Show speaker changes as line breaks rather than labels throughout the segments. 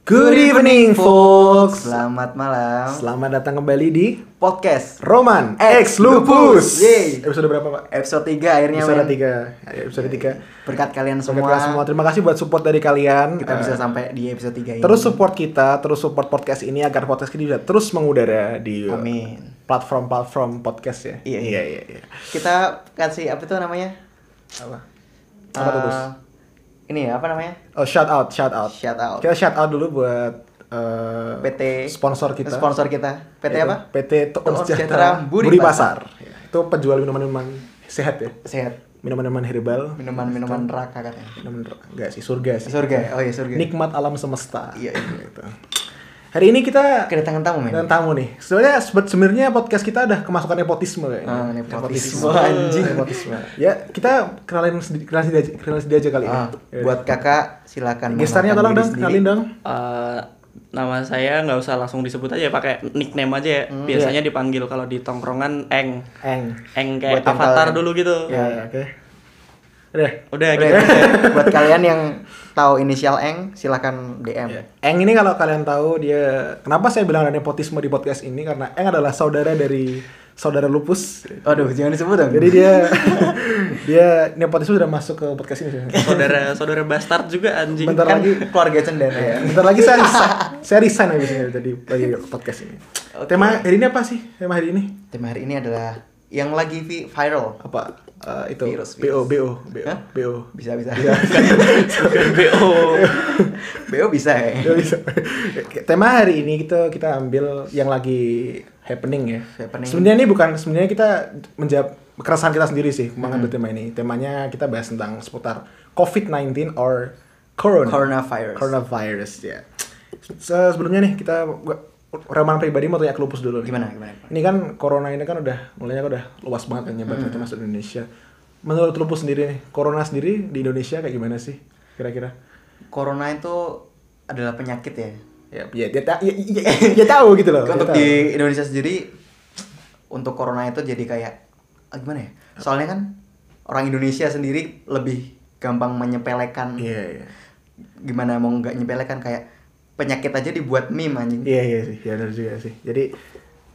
Good evening, folks.
Selamat malam.
Selamat datang kembali di
Podcast
Roman
X
X
Lupus.
Lupus.
Yeay.
Episode berapa, Pak?
episode 3 akhirnya.
Episode
men.
3. Ya, episode 3.
Berkat kalian semua.
Semua. semua. Terima kasih buat support dari kalian.
Kita
Eh,
bisa sampai di episode 3 ini.
terus support kita, terus support podcast ini agar podcast ini bisa terus mengudara di
Iya.
eh,
Amin.
platform-platform podcast ya.
Iya,
iya,
iya.
iya. iya.
Kita kasih apa itu namanya?
Apa? Apa tuh,
Eh,
Bus?
Ini ya, apa namanya?
Oh, shout out, shout out.
Shout out.
Kita shout out dulu buat eh,
PT
sponsor kita. Iya,
Sponsor kita. PT
Yaitu
apa?
PT Toon
Toon Sejahtera
Sejahtera
Budi
Budi,
Pasar.
Pasar. Ya, Itu penjual minuman-minuman sehat ya.
Sehat.
Minuman-minuman herbal.
Minuman-minuman neraka katanya.
Minuman enggak sih, surga sih.
Surga. Oh iya, surga.
Nikmat alam semesta.
Iya, iya.
Gitu. Hari ini kita
Kedatangan tamu, men.
dan tamu nih. Sebenarnya sebe- sebenarnya podcast kita ada kemasukan nepotisme kayaknya.
Ah, nepotisme. Anjing.
Nepotisme. Ya, kita kenalin sedi- kenalin sendiri aja, kenalin sendiri aja kali ya.
Ah, buat kakak silakan
gestarnya tolong
mengenalkan diri
dong,
sendiri.
kenalin dong.
Eh, nama saya nggak usah langsung disebut aja pakai nickname aja ya.
Hmm.
Biasanya dipanggil kalau di tongkrongan Eng.
Eng.
Eng
Buat
kayak
yang
avatar
kalian-
dulu gitu.
Ya, ya, oke. Udah.
Udah
Oke,
gitu.
buat kalian yang tahu inisial Eng silakan DM.
Eng ini kalau kalian tahu dia kenapa saya bilang ada nepotisme di podcast ini karena Eng adalah saudara dari saudara lupus.
Aduh, jangan disebut dong.
Jadi dia dia nepotisme sudah masuk ke podcast ini.
Saudara saudara bastard juga anjing.
Bentar
kan
lagi Iya.
keluarga cendana ya.
bentar lagi saya resign, saya resign habis ini dari dari podcast ini. Tema hari ini apa sih? Tema hari ini
Tema hari ini adalah yang lagi vi- viral.
apa? Eh, itu
Virus,
BO BO BO
Hah?
BO.
Bisa bisa.
Bukan BO.
BO bisa ya.
Ya, bisa. Tema hari ini kita kita ambil yang lagi happening ya.
Happening.
Sebenarnya ini bukan sebenarnya kita menjawab keresahan kita sendiri sih mengambil
Hmm.
tema ini. Temanya kita bahas tentang seputar COVID-19 or corona.
Coronavirus.
Coronavirus, ya. Se- Sebelumnya nih kita gua- Roman pribadi mau tanya ke lupus dulu. nih.
Gimana gimana?
Ini kan corona ini kan udah mulainya kan udah luas banget kan nyebar terutama masuk Indonesia. Menurut lupus sendiri nih, corona sendiri di Indonesia kayak gimana sih kira-kira?
Corona itu adalah penyakit ya.
ya ya dia ta- ya, ya, ya- dia tahu gitu loh dia
Untuk
tahu.
di Indonesia sendiri untuk corona itu jadi kayak ah, gimana ya? Soalnya kan orang Indonesia sendiri lebih gampang menyepelekan
iya iya
gimana mau nggak nyepelekan kayak penyakit aja dibuat meme anjing.
iya iya sih ya benar juga sih jadi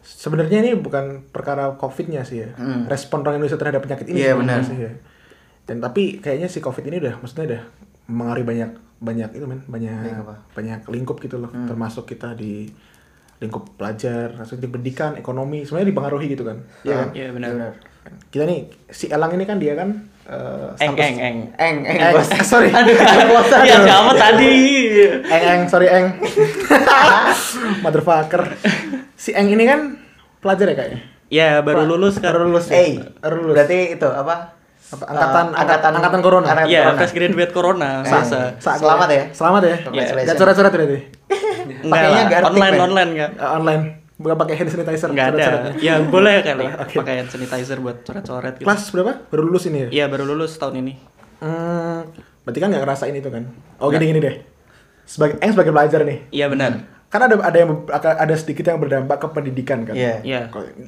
sebenarnya ini bukan perkara covidnya sih ya
Hmm.
respon orang Indonesia terhadap penyakit ini
Iya,
sebenarnya
benar.
sih ya. dan tapi kayaknya si covid ini udah maksudnya udah mengaruhi banyak banyak itu men banyak
Banyak apa? Hmm.
banyak lingkup gitu loh termasuk kita di lingkup pelajar maksudnya di pendidikan ekonomi sebenarnya dipengaruhi gitu kan iya kan
Iya benar.
kita nih si Elang ini kan dia kan eh,
Eng
status-
eng eng.
Eng, eng,
Eng,
bos.
Eh, sorry.
Aduh, bosan.
Iya siapa
Ya.
tadi?
Eng Eh, Eng, sorry Eng. Motherfucker. Si Eng ini kan pelajar ya kayaknya.
Ya baru lulus kan.
Baru lulus. ya?
Eh,
baru lulus.
berarti itu apa?
Apa, angkatan-
Eh, angkatan
angkatan corona.
Angkatan
Iya
corona.
fresh graduate corona. Masa.
Sa-
Selamat ya.
Selamat ya.
Congratulations.
Gak coret-coret berarti.
Enggak
Pakainya
lah.
gartik,
Online
men.
online enggak.
Eh, online. Bukan pakai hand sanitizer.
Enggak ada.
coret-coretnya.
Ya boleh kali
Oke.
pakai hand sanitizer buat coret-coret gitu.
Kelas berapa? Baru lulus ini ya?
Iya baru lulus tahun ini.
Hmm, berarti kan gak ngerasain itu kan? Oh gini-gini deh. Sebagai Eng sebagai pelajar nih.
Iya benar.
Karena ada ada yang ada sedikit yang berdampak ke pendidikan kan.
Iya.
Iya.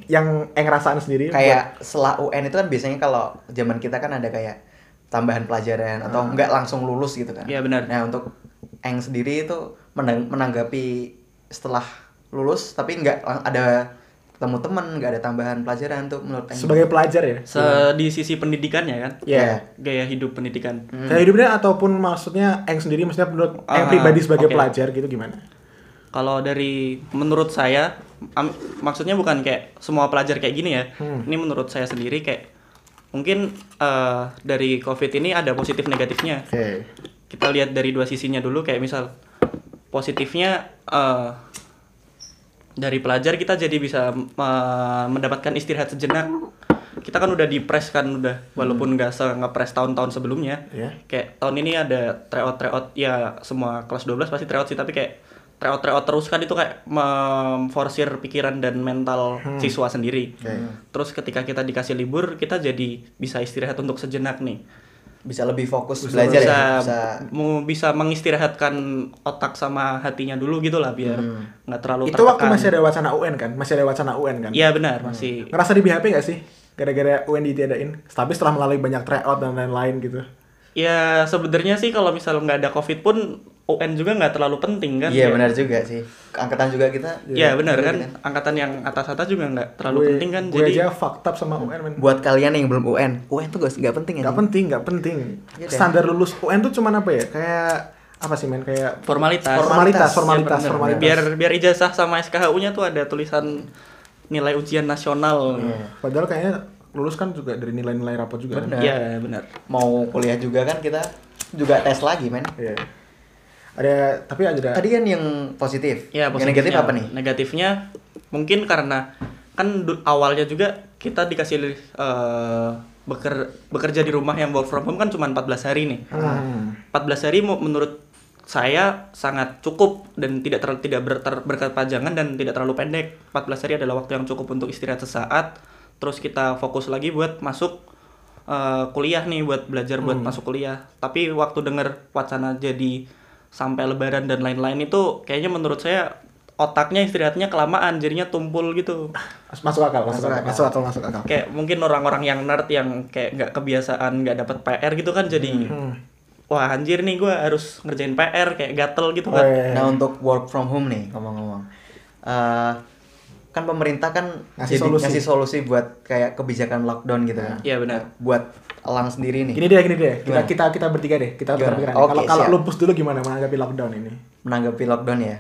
Yang Eng rasain sendiri.
Kayak setelah UN itu kan biasanya kalau zaman kita kan ada kayak tambahan pelajaran atau
Ah.
nggak langsung lulus gitu kan.
Iya, benar.
Nah, untuk Eng sendiri itu menang- menanggapi setelah lulus tapi nggak lang- ada ketemu teman, nggak ada tambahan pelajaran tuh menurut Eng.
sebagai pelajar ya.
Iya.
Se- di sisi pendidikannya kan
Iya.
gaya hidup pendidikan
Kayak hidupnya ataupun maksudnya Eng sendiri maksudnya menurut Eng
Hmm. Ah,
pribadi sebagai
oke.
pelajar gitu gimana?
kalau dari menurut saya am- maksudnya bukan kayak semua pelajar kayak gini ya ini menurut saya sendiri kayak mungkin eh, dari covid ini ada positif negatifnya
Oke.
kita lihat dari dua sisinya dulu kayak misal positifnya eh, dari pelajar kita jadi bisa eh, mendapatkan istirahat sejenak kita kan udah dipres kan udah walaupun nggak se ngepres tahun-tahun sebelumnya
Iya.
kayak tahun ini ada tryout tryout ya semua kelas 12 pasti tryout sih tapi kayak tryout tryout terus kan itu kayak memforsir pikiran dan mental siswa sendiri terus ketika kita dikasih libur kita jadi bisa istirahat untuk sejenak nih
bisa lebih fokus belajar
bisa,
ya. Bisa
mau bisa mengistirahatkan otak sama hatinya dulu gitu lah biar nggak terlalu
Itu waktu
tertekan.
masih ada wacana UN kan? Masih ada wacana UN kan?
Iya benar masih
Ngerasa di BHP gak sih? Gara-gara UN ditiadain. Tapi setelah melalui banyak tryout dan lain-lain gitu.
ya sebenarnya sih kalau misal nggak ada covid pun UN juga nggak terlalu penting kan?
Iya
Kayak-
benar juga sih. Angkatan juga kita.
Iya benar
Iya,
kan?
kan?
Angkatan yang atas-atas juga nggak terlalu
Gue-
penting kan?
gue
Jadi
aja fucked up sama UN men
Buat kalian yang belum UN, UN tuh gak, nggak penting ya.
nggak penting nggak penting
Iya deh.
standar lulus UN tuh cuman apa ya kayak apa sih men kayak
formalitas. Iya,
formalitas
Formalitas,
formalitas
ya bener,
formalitas
Biar biar ijazah sama SKHU-nya tuh ada tulisan nilai ujian nasional.
Iya.
padahal kayaknya lulus kan juga dari nilai-nilai rapot juga kan?
Bener.
Iya benar.
Mau kuliah juga kan kita juga tes lagi men.
Iya. ada tapi ada
Tadi kan yang positif. yang
Ya,
negatif
positifnya.
apa nih?
Negatifnya mungkin karena kan du- awalnya juga kita dikasih eh, beker- bekerja di rumah yang work from home kan cuma 14 hari nih.
Hmm.
14 hari mu- menurut saya sangat cukup dan tidak terlalu tidak ber, ter- berkepanjangan dan tidak terlalu pendek. 14 hari adalah waktu yang cukup untuk istirahat sesaat. Terus kita fokus lagi buat masuk eh, kuliah nih, buat belajar buat masuk kuliah. Tapi waktu dengar wacana jadi sampai lebaran dan lain-lain itu kayaknya menurut saya otaknya istirahatnya kelamaan jadinya tumpul gitu
masuk akal masuk,
Masuk
akal,
akal.
masuk akal masuk akal
kayak mungkin orang-orang yang nerd yang kayak nggak kebiasaan nggak dapat PR gitu kan jadi
Hmm.
wah anjir nih gue harus ngerjain PR kayak gatel gitu
Oh,
kan
iya.
Nah untuk work from home nih ngomong-ngomong, Eh, kan pemerintah kan
Ngasih
jadi
solusi.
ngasih solusi buat kayak kebijakan lockdown gitu kan.
Iya, benar.
Buat elang sendiri nih
gini deh gini deh kita
Gimana?
kita kita bertiga deh kita tukar
Gimana?
pikiran
Oke,
kalau kalau
siap.
lupus dulu gimana menanggapi lockdown ini
menanggapi lockdown ya.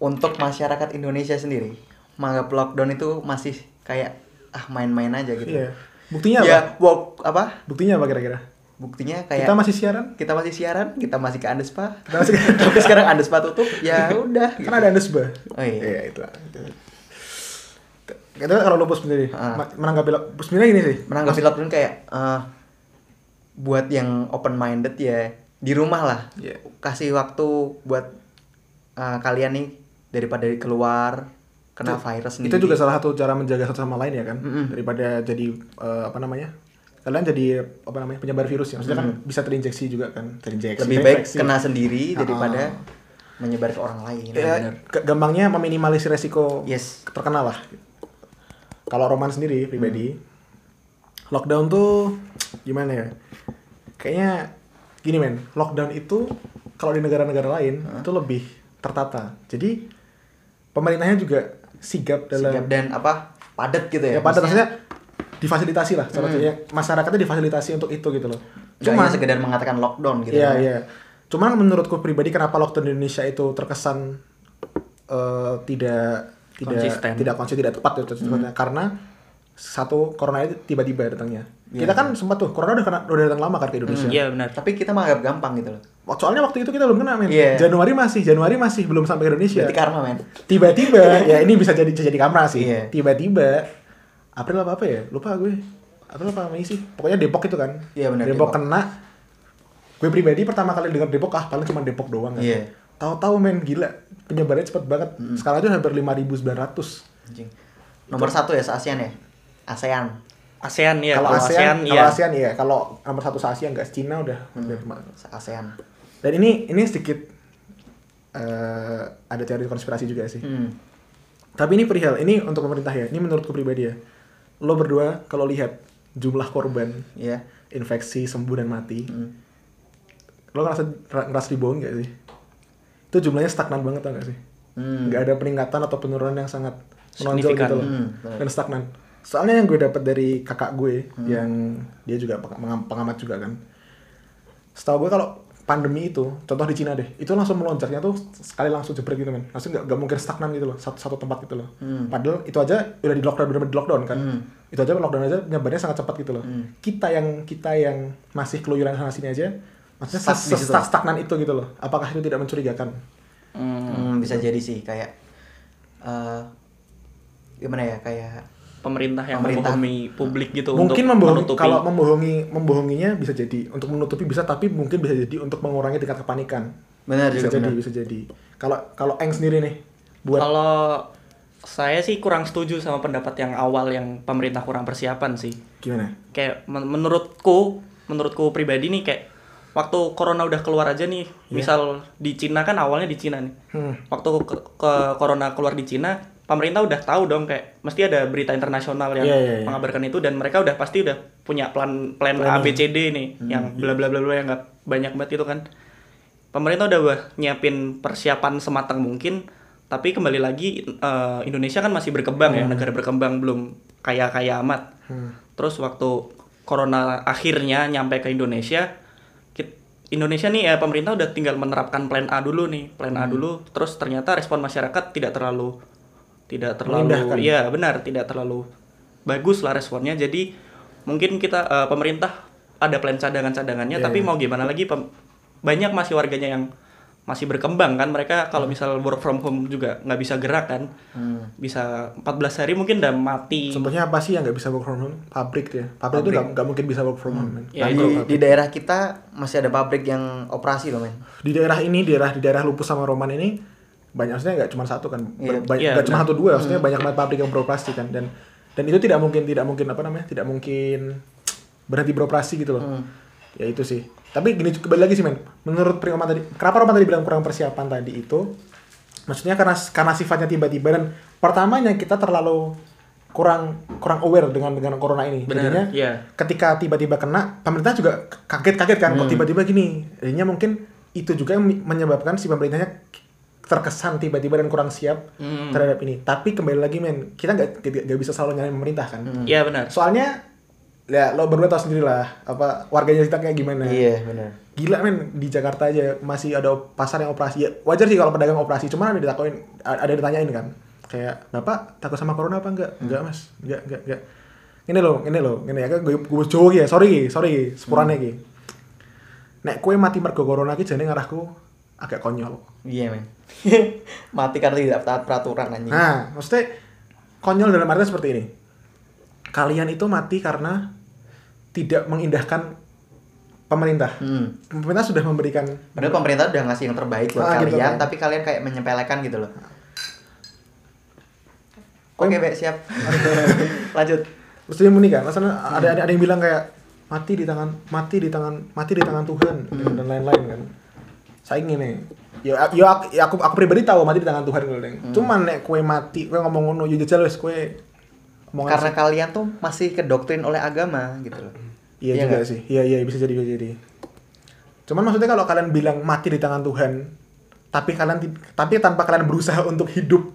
Untuk masyarakat Indonesia sendiri menganggap lockdown itu masih kayak ah main-main aja gitu.
iya buktinya
ya
apa
work apa?
buktinya apa kira-kira
Buktinya kayak
kita
kita,
masih siaran
masih siaran, kita masih ke Andespa.
kita masih
Tapi sekarang Andespa tutup, ya udah.
kan ada Nusba
Oh, iya.
itu kita kan kalau lupus sendiri
Ah.
ma- menanggapi lockdown sebenarnya gini sih
menanggapi lockdown kayak eh, buat yang open minded ya di rumah lah
Iya.
kasih waktu buat eh, kalian nih daripada keluar kena virus sendiri
itu juga salah satu cara menjaga satu sama lain ya kan
Mm-mm.
daripada jadi eh, apa namanya kalian jadi apa namanya penyebar virus ya maksudnya kan bisa terinjeksi juga kan terinjeksi
lebih baik
terinfeksi.
kena sendiri
Ah.
daripada menyebar ke orang lain
ya, g- gampangnya meminimalisir resiko
Yes.
terkena lah kalau Roman sendiri pribadi
Hmm.
lockdown tuh gimana ya kayaknya gini men lockdown itu kalau di negara-negara lain itu lebih tertata jadi pemerintahnya juga sigap dalam
Sigap dan apa padat gitu
ya
ya
pada
Maksudnya, Hmm.
maksudnya difasilitasi lah salah satunya masyarakatnya difasilitasi untuk itu gitu loh
nggak
cuma
hanya sekedar mengatakan lockdown gitu
iya iya cuman menurutku pribadi kenapa lockdown di Indonesia itu terkesan eh, tidak tidak
Konsisten.
tidak konsisten tidak tepat gitu, sebetulnya. karena satu corona itu tiba-tiba datangnya kita kan sempat tuh corona udah kena, udah datang lama kan ke Indonesia
iya benar
Nah, tapi kita menganggap gampang gitu loh
soalnya waktu itu kita belum kena men
Iya.
Januari masih Januari masih belum sampai ke Indonesia
berarti karma men
tiba-tiba ya ini bisa jadi bisa jadi kamera sih
Iya.
tiba-tiba April apa apa ya lupa gue April apa Mei sih pokoknya Depok itu kan
Iya, benar,
Depok,
Depok.
kena gue pribadi pertama kali dengar Depok ah paling cuma Depok doang kan
Iya. Hmm.
tahu-tahu men gila penyebarannya cepet banget sekarang aja hampir 5.900
Anjing. nomor satu ya se ASEAN ya ASEAN
ASEAN ya
kalau ASEAN, kalau
iya
ASEAN iya kalau nomor satu se ASEAN enggak Cina udah hampir ma-
se ASEAN
dan ini ini sedikit eh, ada teori konspirasi juga sih
Hmm.
Tapi ini perihal, ini untuk pemerintah ya. Ini menurutku pribadi ya. Lo berdua kalau lihat jumlah korban
Iya.
infeksi sembuh dan mati, lo ngerasa ra- ngerasa dibohong gak sih? Itu jumlahnya stagnan banget tau gak sih?
Hmm.
Nggak ada peningkatan atau penurunan yang sangat menonjol
Signifikan.
gitu loh.
Hmm, Hmm. benar.
dan stagnan. Soalnya yang gue dapat dari kakak gue yang dia juga peng- pengam- pengamat juga kan. Setahu gue kalau pandemi itu, contoh di Cina deh, itu langsung melonjaknya tuh sekali langsung jebret gitu men. Langsung nggak nggak mungkin stagnan gitu loh, satu, satu tempat gitu loh.
Hmm.
Padahal itu aja udah di lockdown, bener-bener di lockdown kan. Itu aja lockdown aja nyebarnya sangat cepat gitu loh.
Hmm.
Kita yang kita yang masih keluyuran sana sini aja, maksudnya
Stuck di
se-
situ.
se- stagnan itu gitu loh. Apakah itu tidak mencurigakan?
Hmm,
Hmm, bisa jadi sih kayak eh gimana ya kayak
pemerintah yang
Pemerintah.
membohongi publik gitu
mungkin
untuk
membohongi
menutupi
kalau membohongi membohonginya bisa jadi untuk menutupi bisa tapi mungkin bisa jadi untuk mengurangi tingkat kepanikan
benar
bisa
juga
jadi
benar.
bisa jadi kalau kalau eng sendiri nih buat
kalau saya sih kurang setuju sama pendapat yang awal yang pemerintah kurang persiapan sih
gimana
kayak men- menurutku menurutku pribadi nih kayak waktu corona udah keluar aja nih
Iya.
misal di Cina kan awalnya di Cina nih
Hmm.
waktu ke, ke- corona keluar di Cina pemerintah udah tahu dong kayak mesti ada berita internasional yang
Iya, iya, iya.
mengabarkan itu dan mereka udah pasti udah
Hmm.
punya plan plan A B C D nih yang bla bla bla bla yang nggak banyak banget itu kan pemerintah udah bah, nyiapin persiapan sematang mungkin tapi kembali lagi eh, Indonesia kan masih berkembang
Hmm.
ya negara berkembang belum kaya kaya amat terus waktu corona akhirnya nyampe ke Indonesia kit- Indonesia nih ya pemerintah udah tinggal menerapkan plan A dulu nih plan
Hmm.
A dulu terus ternyata respon masyarakat tidak terlalu tidak
Mengindahkan.
terlalu iya benar tidak terlalu bagus lah responnya jadi mungkin kita eh, pemerintah ada plan cadangan-cadangannya
Iya,
tapi
iya.
mau gimana lagi pem- banyak masih warganya yang masih berkembang kan mereka
Hmm.
kalau misal work from home juga nggak bisa gerak kan
Hmm.
bisa 14 hari mungkin udah mati
Contohnya apa sih yang nggak bisa work from home? Pabrik dia. Pabrik, itu nggak nggak mungkin bisa work from home. men.
Ya,
Di,
Bangkrut pabrik.
di daerah kita masih ada pabrik yang operasi loh men.
di daerah ini, di daerah di daerah Lupus sama Roman ini banyak maksudnya nggak cuma satu kan,
Iya.
Ber- ba- nggak
Iya,
cuma
benar.
satu dua, maksudnya banyak banget pabrik yang beroperasi kan dan dan itu tidak mungkin tidak mungkin apa namanya tidak mungkin berhenti beroperasi gitu loh.
Hmm.
Ya itu sih. Tapi gini kembali lagi sih men, menurut Pri Roman tadi, kenapa Roman tadi bilang kurang persiapan tadi itu? Maksudnya karena karena sifatnya tiba-tiba dan pertamanya kita terlalu kurang kurang aware dengan dengan corona ini.
Benar,
Jadinya
iya.
ketika tiba-tiba kena pemerintah juga kaget-kaget kan kok tiba-tiba gini jadinya mungkin itu juga yang menyebabkan si pemerintahnya terkesan tiba-tiba dan kurang siap
Hmm.
terhadap ini tapi kembali lagi men kita nggak nggak- nggak bisa selalu nyalain pemerintah kan
ya benar
soalnya ya lo berdua tau sendiri lah apa warganya kita kayak gimana
Iya benar.
gila men di Jakarta aja masih ada pasar yang operasi ya, wajar sih kalau pedagang operasi cuma ada ditakoin ada yang ditanyain kan kayak bapak takut sama corona apa enggak enggak mas enggak enggak enggak ini loh ini loh ini ya gue gue jowo ya sorry sorry sepurane iki nek kue mati mergo corona iki jane ngarahku agak konyol
Iya men. Mati karena tidak taat peraturan anjing.
nah maksudnya konyol dalam artian seperti ini kalian itu mati karena tidak mengindahkan pemerintah
Hmm.
pemerintah sudah memberikan
Padahal pemerintah udah ngasih yang terbaik buat
Ah,
kalian,
gitu, kan.
tapi kalian kayak menyepelekan gitu loh.
Kau-
Oke, Bek, siap. Lanjut.
Terus dia muni kan, maksudnya ada, ada ada yang bilang kayak mati di tangan mati di tangan mati di tangan Tuhan dan lain-lain kan. Saya ingin nih. Ya, ya, aku- ya aku aku pribadi tahu mati di tangan Tuhan gitu Deng. Cuman nek kue mati, kue ngomong ngono yo jajal wis kue omongan
Karena
sih.
kalian tuh masih kedoktrin oleh agama gitu loh.
iya
iya
juga
nggak?
sih. Iya iya bisa jadi bisa jadi. Cuman maksudnya kalau kalian bilang mati di tangan Tuhan, tapi kalian ti- tapi tanpa kalian berusaha untuk hidup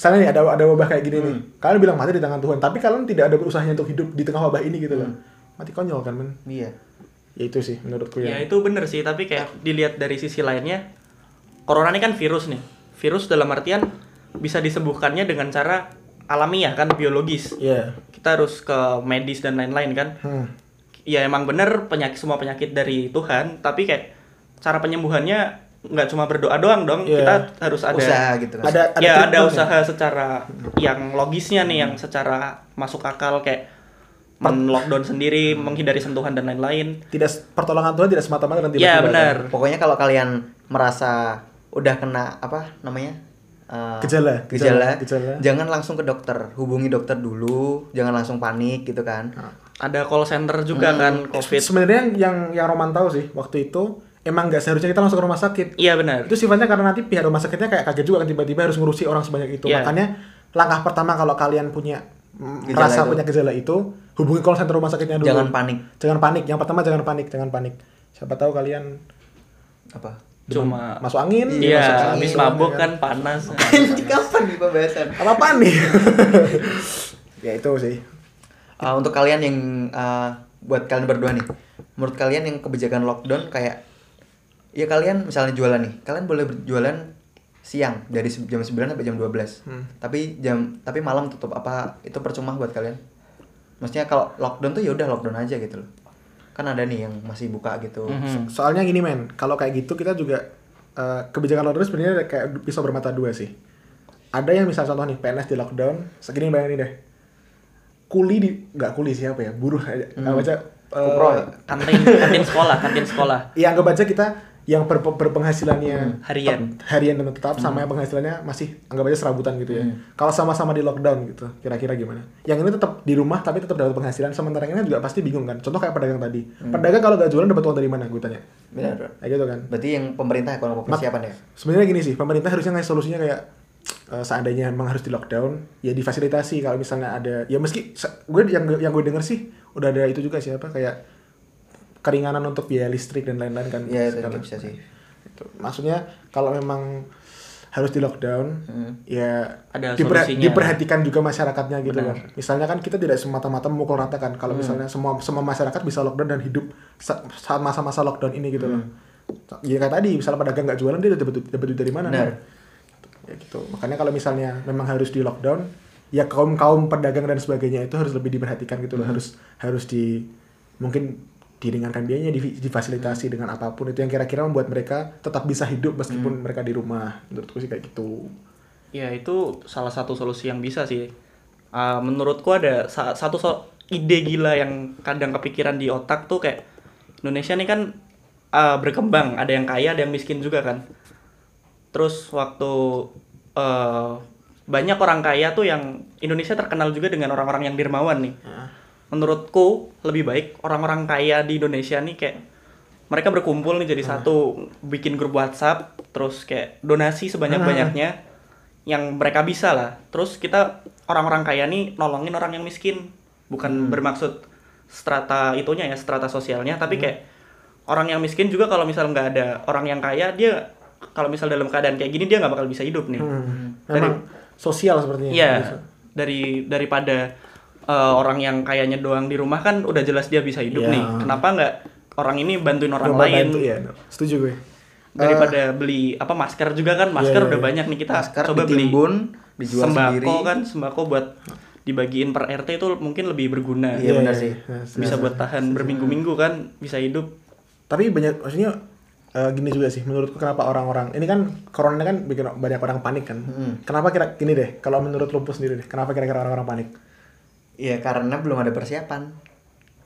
misalnya nih ada ada wabah kayak gini nih kalian bilang mati di tangan Tuhan tapi kalian tidak ada berusahanya untuk hidup di tengah wabah ini gitu loh mati konyol kan men
Iya.
ya itu sih menurutku
ya
ya,
itu benar sih tapi kayak dilihat dari sisi lainnya corona ini kan virus nih virus dalam artian bisa disembuhkannya dengan cara alamiah kan biologis
Iya.
kita harus ke medis dan lain-lain kan
hmm.
ya emang bener penyakit semua penyakit dari Tuhan tapi kayak cara penyembuhannya nggak cuma berdoa doang dong
Iya.
kita harus ada
Usaha gitu kan.
ada ada,
ya ada
treatment
usaha secara yang logisnya nih yang secara masuk akal kayak men lockdown sendiri
Hmm.
menghindari sentuhan dan lain-lain
ya. tidak pertolongan Tuhan tidak semata-mata dan tiba-tiba
Iya,
kan.
benar.
Pokoknya kalau kalian merasa udah kena apa namanya? Eh,
Gejala,
gejala,
gejala, gejala.
Jangan langsung ke dokter, hubungi dokter dulu, jangan langsung panik gitu kan.
ada call center juga kan covid
Nah, sebenarnya yang- yang yang Roman tahu sih waktu itu emang nggak seharusnya kita langsung ke rumah sakit
iya benar
itu sifatnya karena nanti pihak rumah sakitnya kayak kaget juga kan tiba-tiba harus ngurusi orang sebanyak itu
Iya.
makanya langkah pertama kalau kalian punya mm,
Gejala
merasa
itu.
punya gejala itu hubungi call center rumah sakitnya dulu
Jangan panik.
jangan panik yang pertama jangan panik jangan panik siapa tahu kalian
Apa?
demam-
Cuma-
masuk angin
iya
masuk angin,
habis
gitu
mabuk kan panas
Anjing, kapan nih pembahasan?
apa apaan kan. nih ya itu sih
Eh, untuk kalian yang eh, buat kalian berdua nih, menurut kalian yang kebijakan lockdown kayak ya kalian misalnya jualan nih, kalian boleh berjualan siang dari se- jam 9 sampai jam 12.
Hmm.
Tapi jam tapi malam tutup apa itu percuma buat kalian? Maksudnya kalau lockdown tuh ya udah lockdown aja gitu loh. Kan ada nih yang masih buka gitu.
Mhm.
soalnya gini men kalau kayak gitu kita juga eh, kebijakan lockdown sebenarnya kayak pisau bermata dua sih ada yang misal contoh nih PNS di lockdown segini bayangin deh kuli di nggak kuli siapa ya buruh aja nggak baca eh,
Kupro.
kantin kantin sekolah kantin sekolah
yang nggak baca kita yang ber- berpenghasilannya
Harian.
tet- harian dan tetap sama yang penghasilannya masih anggap aja serabutan gitu ya kalau sama-sama di lockdown gitu kira-kira gimana yang ini tetap di rumah tapi tetap dapat penghasilan sementara yang ini juga pasti bingung kan contoh kayak pedagang tadi pedagang kalau nggak jualan dapat uang dari mana gue tanya
Benar. Bro.
kayak gitu kan
Berarti yang pemerintah kurang persiapan ya.
sebenarnya gini sih pemerintah harusnya ngasih solusinya kayak eh, seandainya memang harus di lockdown ya difasilitasi kalau misalnya ada ya meski se- gue yang yang gue denger sih udah ada itu juga sih apa kayak keringanan untuk biaya listrik dan lain-lain kan
Ya itu
Sekarang.
bisa sih.
Itu. Maksudnya kalau memang harus di lockdown, ya
Ada
diper-
solusinya.
diperhatikan juga masyarakatnya gitu
Benar.
kan. Misalnya kan kita tidak semata-mata memukul rata kan. Kalau misalnya semua semua masyarakat bisa lockdown dan hidup sa- saat masa-masa lockdown ini gitu loh. Ya kayak tadi, misalnya pedagang nggak jualan dia dapat dapat duit dari mana?
Benar.
kan? Ya gitu. Makanya kalau misalnya memang harus di lockdown, ya kaum kaum pedagang dan sebagainya itu harus lebih diperhatikan gitu loh. Harus harus di mungkin diringankan biayanya, divi- difasilitasi dengan apapun itu yang kira-kira membuat mereka tetap bisa hidup meskipun mereka di rumah. Menurutku sih kayak gitu.
Ya itu salah satu solusi yang bisa sih. Ah, menurutku ada sa- satu so- ide gila yang kadang kepikiran di otak tuh kayak Indonesia nih kan ah, berkembang, ada yang kaya, ada yang miskin juga kan. Terus waktu eh, banyak orang kaya tuh yang Indonesia terkenal juga dengan orang-orang yang dermawan nih. Menurutku lebih baik orang-orang kaya di Indonesia nih kayak mereka berkumpul nih jadi satu, bikin grup WhatsApp, terus kayak donasi sebanyak-banyaknya yang mereka bisa lah. Terus kita orang-orang kaya nih nolongin orang yang miskin, bukan bermaksud strata itunya ya, strata sosialnya, tapi kayak orang yang miskin juga kalau misal nggak ada orang yang kaya, dia kalau misal dalam keadaan kayak gini dia nggak bakal bisa hidup nih.
Hmm.
Dari-
Memang sosial sepertinya.
Iya,
Bisa.
dari daripada eh, orang yang kayaknya doang di rumah kan udah jelas dia bisa hidup
Iya.
nih. Kenapa nggak orang ini bantuin orang
Coba
lain?
bantu, ya. Setuju gue.
Daripada beli apa masker juga kan, masker
iya,
udah
iya.
banyak nih kita
Masker
coba beli
ditimbun, dijual
sembako
sendiri.
kan sembako buat dibagiin per RT itu mungkin lebih berguna.
Iya, benar sih.
Bisa buat
Iya.
tahan berminggu-minggu kan, bisa hidup.
Tapi banyak maksudnya eh, gini juga sih menurutku kenapa orang-orang ini kan corona kan bikin banyak orang panik kan.
Hmm.
Kenapa kira gini deh kalau menurut Lumpuh sendiri deh kenapa kira-kira orang-orang panik?
Iya, karena belum ada persiapan.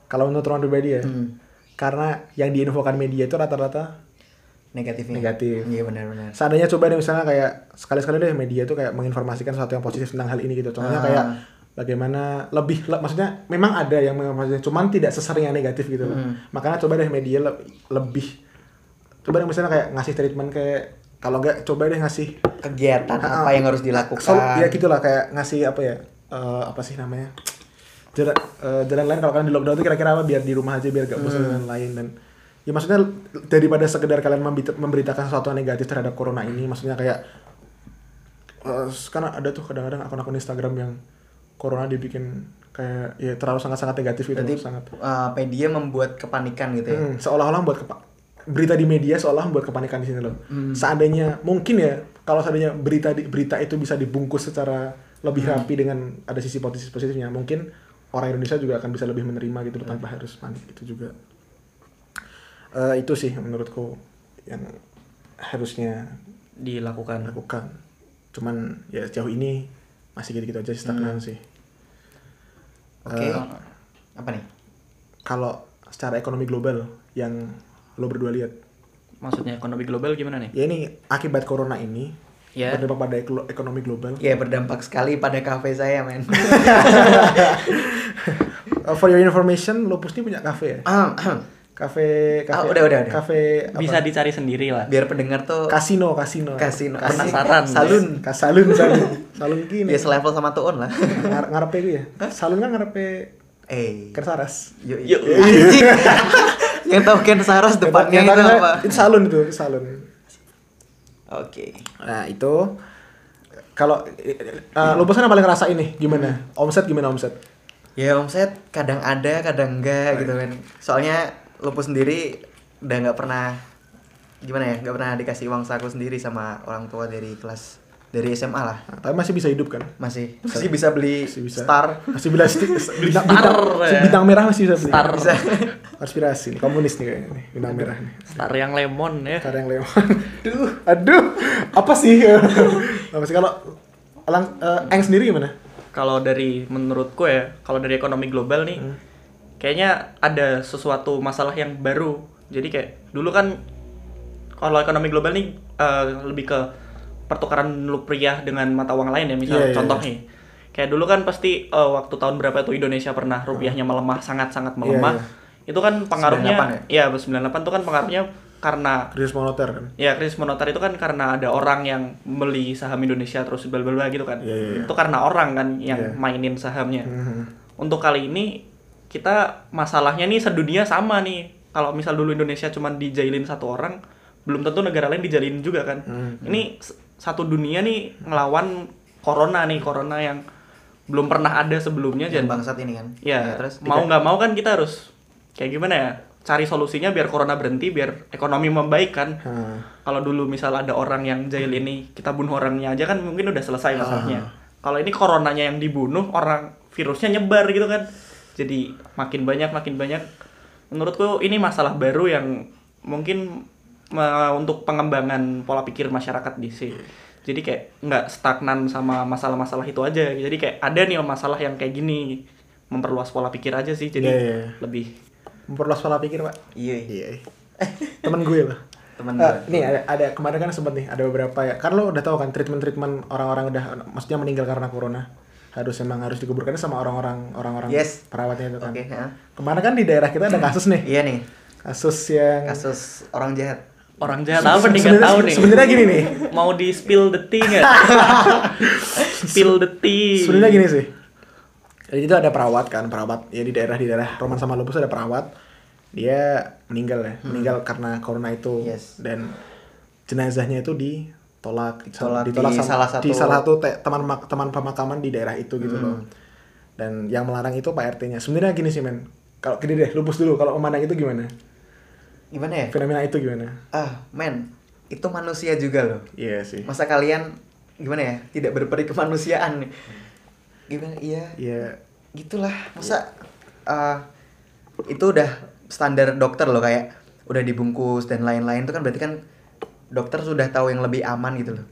Kalau menurut orang pribadi ya
Hmm.
karena yang diinfokan media itu rata-rata
Negatifnya.
Negatif.
Iya,
Nah,
benar-benar.
seandainya coba deh misalnya kayak sekali-sekali deh media tuh kayak menginformasikan sesuatu yang positif tentang hal ini gitu. Contohnya
Ah.
kayak bagaimana lebih le- maksudnya memang ada yang menginformasikan cuman tidak sesering yang negatif gitu loh. Makanya coba deh media le- lebih coba deh misalnya kayak ngasih treatment kayak kalau nggak coba deh ngasih
Kegiatan apa yang harus dilakukan?
Sol- Ah, ya gitulah kayak ngasih apa ya? eh, apa sih namanya? Jalan, eh, jalan lain kalau kalian di lockdown tuh kira-kira apa biar di rumah aja biar gak bosan
Hmm.
dengan lain dan ya maksudnya daripada sekedar kalian membit- memberitakan sesuatu yang negatif terhadap corona ini maksudnya kayak eh, karena ada tuh kadang-kadang akun-akun Instagram yang corona dibikin kayak ya terlalu sangat-sangat negatif gitu
Berarti
sangat
uh, media membuat kepanikan gitu ya.
Hmm, seolah-olah buat berita di media seolah buat kepanikan di sini loh. Seandainya mungkin ya kalau seandainya berita di- berita itu bisa dibungkus secara lebih rapi dengan ada sisi positif positifnya, mungkin orang Indonesia juga akan bisa lebih menerima gitu loh, tanpa harus panik itu juga. Eh, itu sih menurutku yang harusnya
Mm. dilakukan.
lakukan. Cuman ya sejauh ini masih gitu-gitu aja stagnan sih.
Oke.
Eh.
Apa nih?
Kalau secara ekonomi global yang lo berdua lihat
Maksudnya ekonomi global gimana nih?
ya ini akibat corona ini
Ya.
berdampak pada eklo- ekonomi global.
Ya berdampak sekali pada kafe saya, men.
Uh, for your information, Lupus ini punya kafe ya?
Ahem, ahem.
Kafe, kafe,
Ah, udah, udah, udah.
kafe apa? Iya.
Bisa dicari sendiri lah.
Biar pendengar tuh
kasino, kasino,
kasino
Penasaran.
Salun.
Kas- salun, salun, salun gini.
Ya selevel sama tuon lah.
Ngar- ngarepe gue ya? Salun kan ngarepe
Eh.
Kersaras.
Yuk.
Yuk.
Anjing. Yang tahu Ken Saras depannya
Yang
itu
tadi-
apa?
Itu salun itu, itu salun.
Oke.
Nah itu kalau uh, Lupus kan yang paling ngerasa ini gimana?
Hmm.
Omset gimana omset?
Ya omset kadang ada, kadang enggak gitu kan. Soalnya Lupu sendiri udah nggak pernah gimana ya, nggak pernah dikasih uang saku sendiri sama orang tua dari kelas dari SMA lah.
Nah, tapi masih bisa hidup kan?
Masih masih bisa beli
Masih bisa.
star.
Masih bila sti- bintang,
star,
bintang,
ya.
bintang merah masih bisa beli.
Star.
Bisa.
Aspirasi nih, komunis nih kayaknya nih, bintang merah nih.
Star yang lemon ya.
Karang Lewan. Aduh. Aduh. Apa sih? apa sih kalau lang, eh, Eng sendiri gimana?
Kalau dari menurutku ya, kalau dari ekonomi global nih,
Hmm.
kayaknya ada sesuatu masalah yang baru. Jadi kayak dulu kan kalau ekonomi global nih eh, lebih ke pertukaran rupiah dengan mata uang lain ya,
Iya,
misalnya
iya,
contoh nih. Kayak dulu kan pasti eh, waktu tahun berapa itu Indonesia pernah rupiahnya melemah sangat-sangat melemah.
Hmm. iya.
Itu kan pengaruhnya
98
ya? 98 itu kan pengaruhnya karena
Krisis moneter kan.
Ya krisis moneter itu kan karena ada orang yang beli saham Indonesia terus bla bla bla gitu kan.
Iya, iya, iya.
Itu karena orang kan yang
Iya.
mainin sahamnya.
Mhm.
Untuk kali ini kita masalahnya nih sedunia sama nih. Kalau misal dulu Indonesia cuma dijailin satu orang, belum tentu negara lain dijalin juga kan.
Hmm.
Ini s- satu dunia nih ngelawan corona nih, corona yang belum pernah ada sebelumnya
dan
dan
bangsat ini kan
ya,
terus
mau
diga-
nggak mau kan kita harus kayak gimana ya? Cari solusinya biar corona berhenti, biar ekonomi membaik kan.
Hah.
Kalau dulu misal ada orang yang jahil ini, kita bunuh orangnya aja kan mungkin udah
Ah.
selesai masalahnya. Kalau ini coronanya yang dibunuh, orang virusnya nyebar gitu kan. Jadi makin banyak makin banyak. Menurutku ini masalah baru yang mungkin me- untuk pengembangan pola pikir masyarakat di sini. Jadi kayak nggak stagnan sama masalah-masalah itu aja. Jadi kayak ada nih masalah yang kayak gini memperluas pola pikir aja sih. Jadi
Iya, iya, iya.
lebih
Memperluas pola pikir, Pak.
iya iya.
Iya. Temen gue, Pak.
temen
Eh,
gue
nih ada, ada kemarin kan sempat nih ada beberapa ya kan lo udah tahu kan treatment treatment orang-orang udah maksudnya meninggal karena corona harus emang harus dikuburkan sama orang-orang orang-orang
Yes.
perawatnya itu kan
oke ha.
kemarin kan di daerah kita ada kasus nih
iya nih
kasus yang
kasus orang jahat
orang jahat apa nih nggak
Sebenarnya-
tahu nih.
sebenarnya gini nih
mau di spill the tea nggak? spill the tea.
sebenarnya gini sih jadi itu ada perawat kan perawat ya di daerah di daerah Roman sama Lupus ada perawat dia meninggal ya meninggal karena corona itu
Yes.
dan jenazahnya itu ditolak
Ditolak di
sama-
salah satu-
di salah satu te- teman mak- teman pemakaman di daerah itu gitu loh dan yang melarang itu Pak RT-nya sebenarnya gini sih men kalau gini deh lupus dulu kalau memandang itu gimana
gimana ya
fenomena itu gimana
ah men itu manusia juga loh
iya sih
masa kalian gimana ya tidak berperi kemanusiaan nih gimana iya
iya
gitulah masa eh, itu udah standar dokter loh kayak udah dibungkus dan lain-lain itu kan berarti kan dokter sudah tahu yang lebih aman gitu loh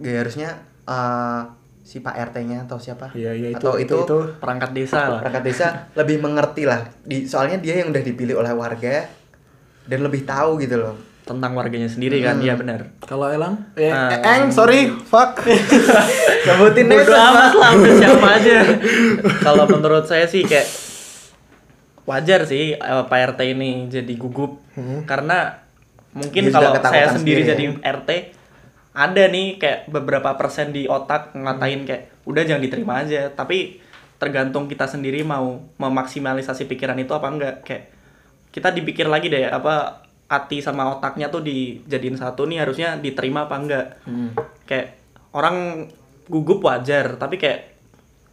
Gaya harusnya eh, si pak rt-nya atau siapa
iya iya itu
atau
itu, itu.
perangkat desa lah.
perangkat desa lebih mengerti lah di soalnya dia yang udah dipilih oleh warga dan lebih tahu gitu loh
Tentang warganya sendiri kan, iya
Hmm.
benar.
kalau Elang eh,
Ah.
eh, Eng sorry fuck
sebutin
Bodo amat lah udah siapa aja. Kalau menurut saya sih kayak wajar sih eh, Pak RT ini jadi gugup karena
Hmm.
mungkin
Dia sudah
kalau
ketakutan
saya sendiri, jadi
sendiri, ya.
RT ada nih kayak beberapa persen di otak
Hmm.
ngatain kayak udah jangan diterima aja tapi tergantung kita sendiri mau memaksimalisasi pikiran itu apa enggak kayak kita dipikir lagi deh apa hati sama otaknya tuh dijadiin satu nih harusnya diterima apa enggak
Hmm.
kayak orang gugup wajar tapi kayak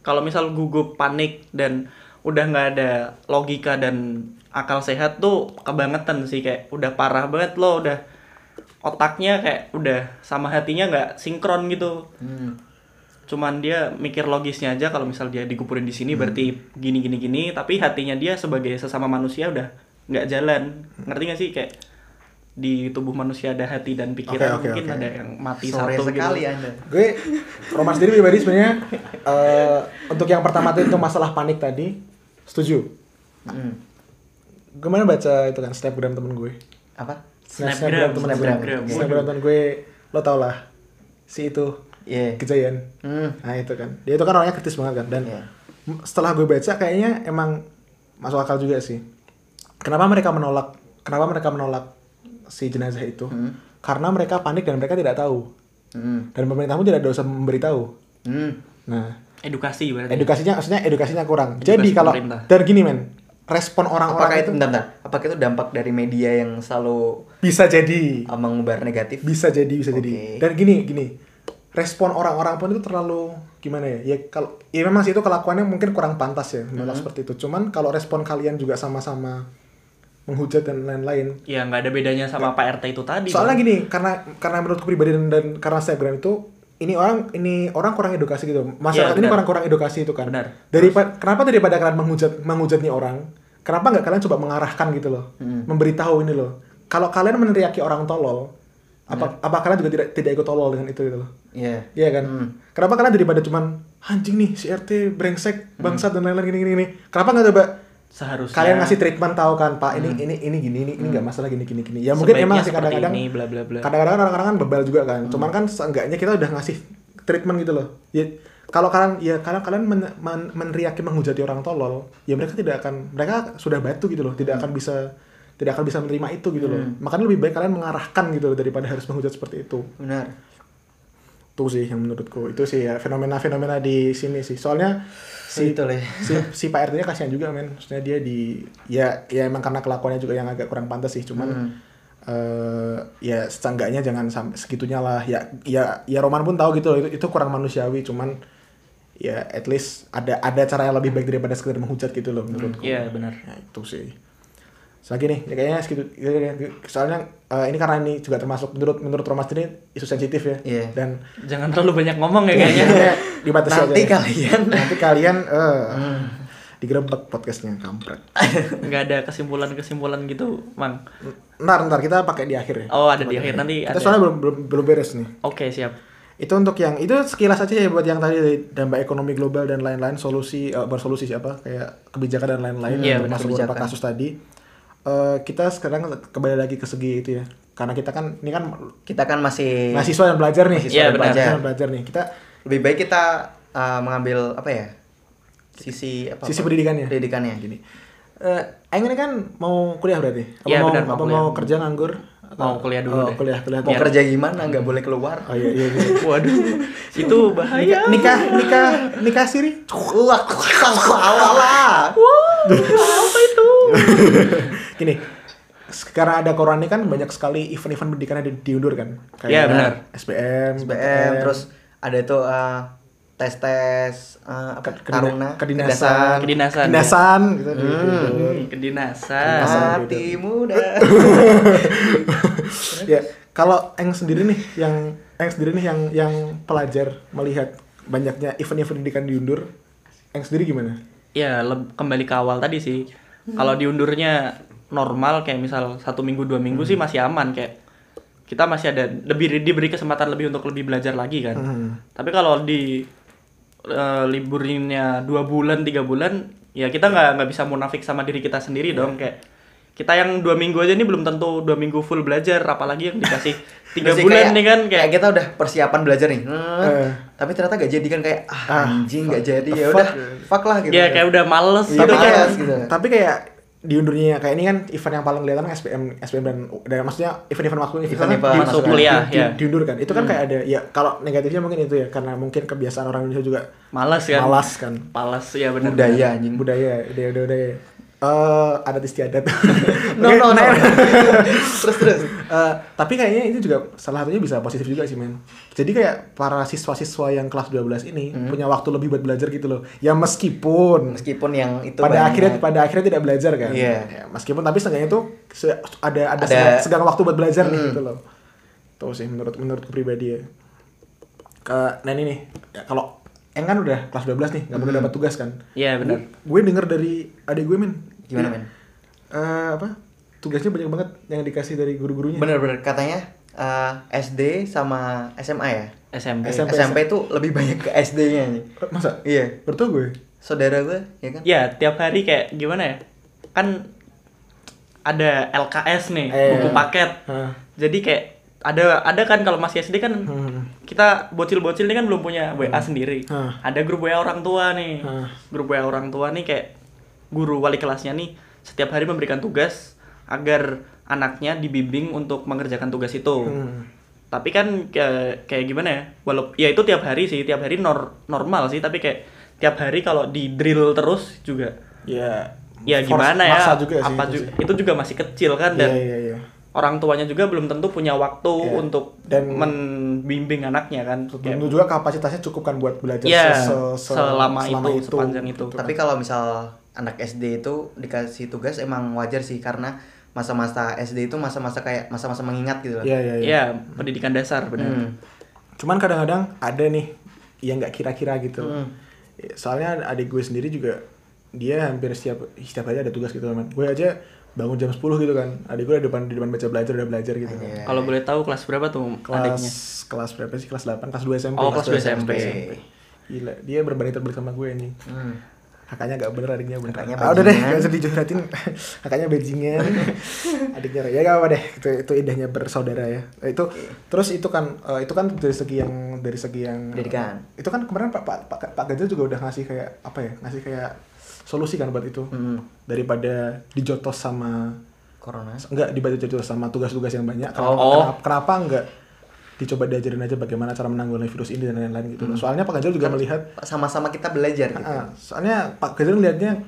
kalau misal gugup panik dan udah nggak ada logika dan akal sehat tuh kebangetan sih kayak udah parah banget lo udah otaknya kayak udah sama hatinya nggak sinkron gitu
Hmm.
cuman dia mikir logisnya aja kalau misal dia dikuburin di
Hmm.
sini berarti gini gini gini tapi hatinya dia sebagai sesama manusia udah nggak jalan ngerti nggak sih kayak di tubuh manusia ada hati dan pikiran
Oke, oke,
mungkin
oke.
ada yang mati
sore
satu
sekali ya.
gitu.
anda
gue Roman sendiri pribadi sebenarnya eh, untuk yang pertama itu masalah panik tadi setuju
Hmm.
kemarin baca itu kan snapgram temen gue
apa
Snap-
Snapgram,
temen
snapgram,
gue
snapgram.
snapgram temen gue lo tau lah si itu
iya
Gejayan
Hmm.
nah itu kan dia itu kan orangnya kritis banget kan dan
Iya.
m- setelah gue baca kayaknya emang masuk akal juga sih kenapa mereka menolak kenapa mereka menolak si jenazah itu karena mereka panik dan mereka tidak tahu
Hmm.
dan pemerintah pun tidak ada usah memberitahu
Hmm.
nah
edukasi berarti
edukasinya maksudnya edukasinya kurang
Edukasi
jadi kalau
pemerintah.
dan gini men respon
Apakah
orang-orang
itu
itu
bentar, bentar. Apakah itu dampak dari media yang selalu
bisa jadi
uh, mengubar negatif?
bisa jadi bisa jadi
Oke.
dan gini gini respon orang-orang pun itu terlalu gimana ya ya kalau ya memang sih itu kelakuannya mungkin kurang pantas ya menolak
Hmm.
seperti itu cuman kalau respon kalian juga sama-sama menghujat dan lain-lain
ya nggak ada bedanya sama Pak RT itu tadi
soalnya gini karena karena menurutku pribadi dan, dan karena Instagram itu ini orang ini orang kurang edukasi gitu masyarakat
Iya,
ini
benar.
kurang kurang edukasi itu kan
Benar.
daripada kenapa daripada kalian menghujat menghujat nih orang kenapa nggak kalian coba mengarahkan gitu loh
Hmm.
memberitahu ini loh kalau kalian meneriaki orang tolol apa apa kalian juga tidak tidak ikut tolol dengan itu gitu loh
Iya.
Iya kan?
Hmm.
Kenapa kalian daripada cuman anjing nih si RT brengsek,
Hmm.
bangsat dan lain-lain gini-gini gini. Kenapa nggak coba
seharusnya
kalian ngasih treatment tahu kan, Pak, ini ini ini gini ini ini nggak masalah gini gini gini. Ya mungkin
Hmm. Sebaiknya
emang sih
seperti
kadang-kadang
ini, bla, bla, bla.
kadang-kadang orang-orang kan bebal juga kan. Cuman kan seenggaknya kita udah ngasih treatment gitu loh. Ya kalau kalian ya kalau kalian men- men- meneriaki menghujati orang tolol, ya mereka tidak akan mereka sudah batu gitu loh, tidak akan bisa tidak akan bisa menerima itu gitu loh. Makanya lebih baik kalian mengarahkan gitu loh daripada harus menghujat seperti itu
Benar.
itu sih yang menurutku itu sih ya fenomena-fenomena di sini sih soalnya si
Itu lah.
si, si Pak ya RT-nya kasihan juga men maksudnya dia di ya ya emang karena kelakuannya juga yang agak kurang pantas sih cuman eh ya seenggaknya jangan sampai segitunya lah ya ya ya Roman pun tahu gitu loh itu, itu kurang manusiawi cuman ya at least ada ada cara yang lebih baik daripada sekedar menghujat gitu loh menurutku
Iya, benar.
Nah, itu sih. Selagi nih, ya kayaknya segitu. ya, ya, ya. Soalnya eh, ini karena ini juga termasuk menurut menurut Romas ini isu sensitif ya.
Iya.
Dan
Jangan terlalu banyak ngomong ya kayaknya.
ya, dibatasi aja.
Nanti
ya.
kalian
Nanti kalian eh digerebek podcastnya kampret.
Nggak ada kesimpulan-kesimpulan gitu, Mang.
Ntar ntar kita pakai di akhir ya.
Oh, ada di akhir nanti
Kita
ada.
soalnya belum, belum belum beres nih.
Oke, siap.
Itu untuk yang itu sekilas aja ya buat yang tadi dari dampak ekonomi global dan lain-lain solusi eh, bersolusi siapa kayak kebijakan dan lain-lain
Iya,
yang
benar,
termasuk beberapa
kebijakan.
kasus tadi. Eh, kita sekarang kembali lagi ke segi itu ya. Karena kita kan ini kan
kita kan masih
mahasiswa yang belajar nih.
Mahasiswa
Iya,
yang
benar.
belajar. yang belajar nih. Kita
lebih baik kita uh, mengambil apa ya sisi apa
sisi pendidikannya.
pendidikannya
Gini. Eh, Aing ini kan mau kuliah berarti. Apa mau
Iya, benar,
apa
mau
mau
kuliah.
kerja nganggur? Atau-
Mau kuliah dulu
Oh,
deh.
kuliah, kuliah.
mau kerja gimana nggak boleh keluar
Oh iya iya. iya.
Waduh, itu bahaya.
nikah, nikah, nikah siri.
wah salah
Apa itu?
Gini, sekarang ada corona ini kan banyak sekali event-event pendidikan yang di- diundur kan. Kayak
Iya, benar.
SBM,
SBM terus ada itu tes tes apa
Ke-
taruna
kedinasan,
Kedinasan,
kedinasan, gitu. di- diundur.
Hmm, kedinasan.
Kedinasan.
hati muda
ya kalau Eng sendiri nih yang Eng sendiri nih yang yang pelajar melihat banyaknya event-event pendidikan diundur Eng sendiri gimana?
Ya, leb- kembali ke awal tadi sih. Kalau diundurnya normal kayak misal satu minggu dua minggu
Hmm.
sih masih aman kayak kita masih ada lebih diberi kesempatan lebih untuk lebih belajar lagi kan.
Hmm.
Tapi kalau di eh, liburnya dua bulan tiga bulan ya kita nggak nggak bisa munafik sama diri kita sendiri
Iya.
dong kayak kita yang dua minggu aja ini belum tentu dua minggu full belajar apalagi yang dikasih tiga
Terus ya
bulan
kayak-
nih kan kayak
kayak gitu kita udah persiapan belajar nih Hmm.
Eh.
tapi ternyata gak jadi kan kayak ah,
Ah,
anjing gak jadi
the
ya udah
fuck.
fuck lah gitu
ya kayak udah males
Iya,
gitu kan
males.
kayak-
gitu.
tapi kayak diundurnya kayak ini kan event yang paling kelihatan kan SPM SPM dan, dan maksudnya event-event masuk event,
Event-event
di-
masuk Hmm.
di-
kuliah,
di-
ya.
diundur kan itu kan kayak ada ya kalau negatifnya mungkin itu ya karena mungkin kebiasaan orang Indonesia juga
males kan
malas kan
Males, ya benar
budaya anjing
budaya budaya budaya eh adat istiadat
no
Oke,
no no
nah,
terus terus
Eh, tapi kayaknya itu juga salah satunya bisa positif juga sih men jadi kayak para siswa-siswa yang kelas 12 ini
Hmm.
punya waktu lebih buat belajar gitu loh ya meskipun
meskipun yang itu
pada
banyak.
akhirnya pada akhirnya tidak belajar kan
Iya.
Ya, meskipun tapi seenggaknya tuh se- ada ada,
Ada-
segang, segang waktu buat belajar nih gitu loh tuh sih menurut menurut pribadi ya Ke- nah ini nih ya, kalau Eng kan udah kelas 12 nih nggak boleh dapat tugas kan
Iya, benar.
Gu- gue denger dari adik gue men
gimana
Iya.
men
Eh, apa tugasnya banyak banget yang dikasih dari guru-gurunya
bener-bener katanya eh, SD sama SMA ya
SMP
SMP.
SMP, tuh lebih banyak ke SD-nya nih
Eh, masa
iya
Bertuah gue
saudara gue ya kan
ya tiap hari kayak gimana ya kan ada LKS nih
Eh.
buku paket
Hah.
jadi kayak ada ada kan kalau masih SD kan
Hmm.
kita bocil-bocil ini kan belum punya WA sendiri
Hah.
ada grup WA orang tua nih
Hah.
grup WA orang tua nih kayak guru wali kelasnya nih setiap hari memberikan tugas agar anaknya dibimbing untuk mengerjakan tugas itu
Hmm.
tapi kan kayak, kayak gimana ya walau ya itu tiap hari sih tiap hari nor- normal sih tapi kayak tiap hari kalau di drill terus juga
ya
ya
force-
gimana ya
maksa juga sih
apa
itu
ju-
sih.
itu juga masih kecil kan dan
iya iya iya
orang tuanya juga belum tentu punya waktu
Iya.
untuk
Dan-
membimbing anaknya kan
Belum
Kayak-
tentu juga kapasitasnya cukup kan buat belajar
Iya,
se- se-
selama itu, sepanjang itu.
gitu
tapi kalau misal anak SD itu dikasih tugas emang wajar sih karena masa-masa SD itu masa-masa kayak masa-masa mengingat gitu loh
Iya iya iya.
ya pendidikan dasar benar
Hmm.
Cuman kadang-kadang ada nih yang nggak kira-kira gitu.
Hmm.
Soalnya adik gue sendiri juga dia hampir setiap setiap hari ada tugas gitu teman. Gue aja bangun jam 10 gitu kan. Adik gue di depan di depan baca belajar udah belajar gitu kan.
Iya.
kalau boleh tahu kelas berapa tuh
Kelas
adiknya
kelas berapa sih? Kelas 8, kelas 2 SMP.
Oh, kelas 2 SMP.
Gila, dia berbanding terbalik sama gue anjing.
Hmm.
Kakaknya gak bener, adiknya bener.
Kakaknya
Ah, udah deh,
bajingan.
gak usah dijoratin. Kakaknya bajingan, adiknya ya gak apa deh. Itu, itu indahnya bersaudara ya. Eh, Itu terus itu kan eh, itu kan dari segi yang dari segi yang
Pendidikan.
Itu kan kemarin Pak Pak Pak, Pak Ganjar juga udah ngasih kayak apa ya? Ngasih kayak solusi kan buat itu.
Hmm.
Daripada dijotos sama
corona
enggak dibaca jotos sama tugas-tugas yang banyak kenapa,
Oh.
kenapa, kenapa enggak dicoba diajarin aja bagaimana cara menanggulangi virus ini dan lain-lain
Hmm. Kan
gitu loh. Soalnya Pak Ganjar juga melihat
sama-sama kita belajar gitu
ah, soalnya Pak Ganjar melihatnya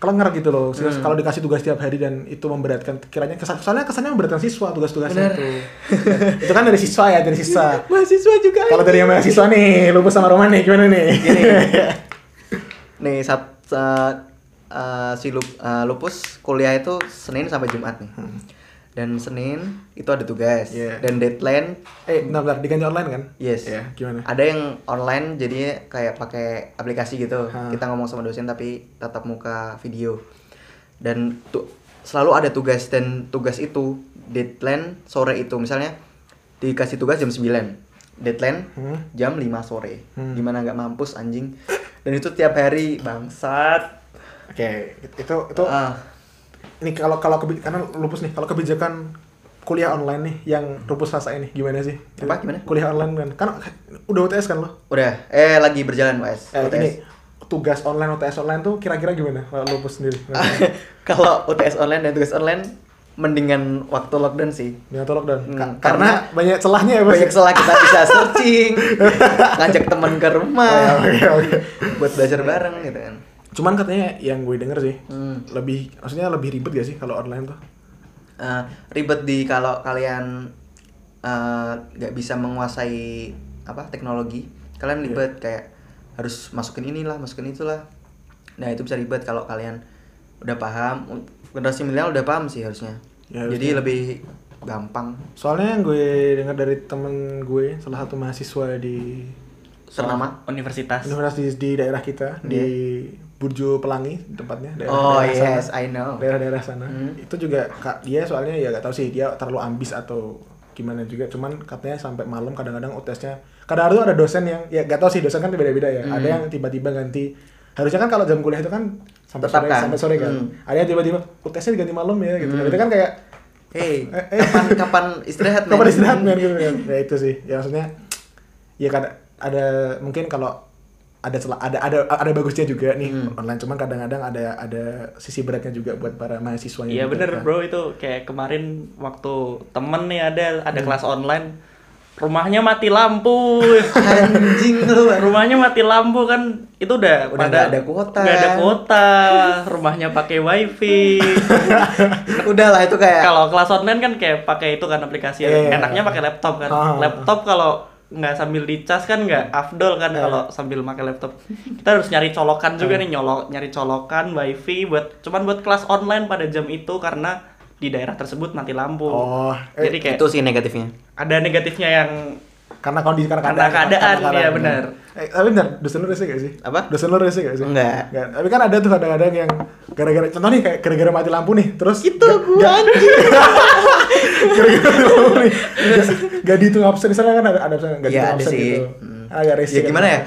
kelenger gitu loh
Hmm.
Sehingga kalau dikasih tugas tiap hari dan itu memberatkan kiranya kesan soalnya kesannya memberatkan siswa tugas-tugasnya
Bener.
itu itu kan dari siswa ya dari siswa
mahasiswa juga
kalau dari yang mahasiswa nih lupus sama Roman nih gimana nih
Gini. nih saat saat, eh, si lup- eh, lupus kuliah itu Senin sampai Jumat nih dan Senin itu ada tugas
Hmm. Iya.
dan deadline
eh bentar bentar diganti online kan
yes
ya gimana
ada yang online jadi kayak pakai aplikasi gitu
Hah.
kita ngomong sama dosen tapi tatap muka video dan tu- selalu ada tugas dan tugas itu deadline sore itu misalnya dikasih tugas jam 9 deadline
Hmm.
jam 5 sore
Hmm.
gimana nggak mampus anjing dan itu tiap hari bangsat
oke itu itu
Ah,
ini kalau kalau kebi- karena lupus nih kalau kebijakan kuliah online nih yang lupus rasain nih gimana sih
Apa? Gimana?
kuliah online kan kan udah UTS kan lo
udah eh lagi berjalan UTS
eh, ini tugas online UTS online tuh kira-kira gimana kalau lupus sendiri
kalau UTS online dan tugas online mendingan waktu lockdown sih
Jangan tolong dan Ka-
Hmm,
karena,
karena
banyak celahnya ya Mas?
banyak setelah kita bisa searching ngajak teman ke
Oh,
rumah
iya, oke, oke.
buat belajar bareng gitu kan
Cuman katanya yang gue denger sih
Hmm.
lebih maksudnya lebih ribet gak sih kalau online tuh?
Eh, ribet di kalau kalian eh, nggak bisa menguasai apa teknologi kalian
Iya.
ribet kayak harus masukin inilah masukin itulah nah itu bisa ribet kalau kalian udah paham generasi milenial udah paham sih harusnya
Ya,
jadi lebih gampang
Soalnya yang gue denger dari temen gue salah satu mahasiswa di
ternama
Universitas.
universitas di daerah kita di Burjo Pelangi tempatnya
Iya. oh
daerah sana.
yes I know
daerah-daerah sana
Hmm.
itu juga kak dia soalnya ya gak tahu sih dia terlalu ambis atau gimana juga cuman katanya sampai malam kadang-kadang UTS-nya kadang-kadang tuh ada dosen yang ya gak tahu sih dosen kan beda-beda ya ada
Hmm.
yang tiba-tiba ganti harusnya kan kalau jam kuliah itu kan sampai
Tetap
sore
kan?
sampai sore kan
Hmm.
ada yang tiba-tiba UTS-nya diganti malam ya gitu itu kan kayak
hey
Eh, eh.
kapan kapan istirahat
kapan
men?
istirahat men gitu kan ya itu sih ya maksudnya ya kadang ada mungkin kalau ada celah ada ada ada bagusnya juga nih
Hmm.
online cuman kadang-kadang ada ada sisi beratnya juga buat para mahasiswanya
Iya
juga
bener
kan.
bro itu kayak kemarin waktu temen nih ada
Hmm.
ada kelas online rumahnya mati lampu
anjing lu
rumahnya mati lampu kan itu udah
Udah nggak ada kuota.
nggak ada kuota rumahnya pakai wifi
udah lah itu kayak
kalau kelas online kan kayak pakai itu kan aplikasi
Iya, iya,
enaknya
iya.
pakai laptop kan
Ah.
laptop kalau nggak sambil dicas kan nggak afdol kan kalau sambil pakai laptop kita harus nyari colokan juga nih nyolok nyari colokan wifi buat cuman buat kelas online pada jam itu karena di daerah tersebut mati lampu
Oh, eh,
jadi kayak
itu sih negatifnya
ada negatifnya yang
karena kondisi karena
Karena
keadaan,
keadaan, iya, benar.
Eh, tapi bentar, dosen lu rese gak sih?
Apa?
Dosen lu rese gak sih?
Enggak.
Tapi kan ada tuh kadang-kadang yang gara-gara contoh nih kayak gara-gara mati lampu nih, terus itu
gua anjing.
gara-gara mati lampu nih. Gak, gak dihitung absen di sana kan ada ada absen gak
Iya
dihitung
ada
absen
sih.
gitu.
Hmm.
Agak rese.
Ya
kan.
gimana ya?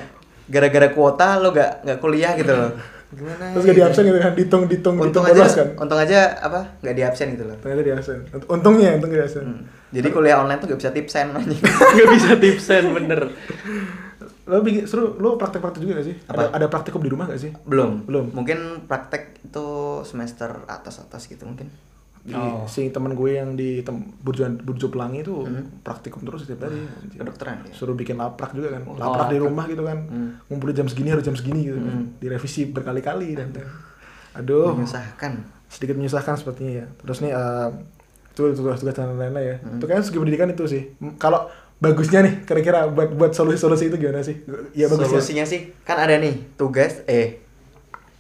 Gara-gara kuota lo gak nggak kuliah gitu loh. Gimana? ya?
Terus gak di absen gitu kan, dihitung dihitung
Untung
dihitung
aja,
bolos kan.
untung aja apa? Gak di absen gitu loh. Hmm.
Ternyata di absen. Untungnya, untung di absen.
Jadi kuliah online tuh gak bisa tipsen anjing.
nggak bisa tipsen bener
Lo bikin seru, lo praktek-praktek juga gak sih?
Apa?
Ada, ada praktikum di rumah gak sih?
Belum.
Belum.
Mungkin praktek itu semester atas-atas gitu mungkin.
Di- Si teman gue yang di tem- Burjo, Burjo Pelangi itu praktikum terus setiap hari. Anjir.
Kedokteran ya.
suruh bikin laprak juga kan laprak di rumah gitu kan ngumpulin jam segini harus jam segini gitu kan direvisi berkali-kali dan dan- aduh
Menyusahkan.
sedikit menyusahkan sepertinya ya terus nih eh, itu tugas-tugas dan lain-lain ya itu kan segi pendidikan itu sih M- kalau bagusnya nih kira-kira buat buat solusi-solusi itu gimana sih ya bagusnya
Solusinya sih kan ada nih tugas eh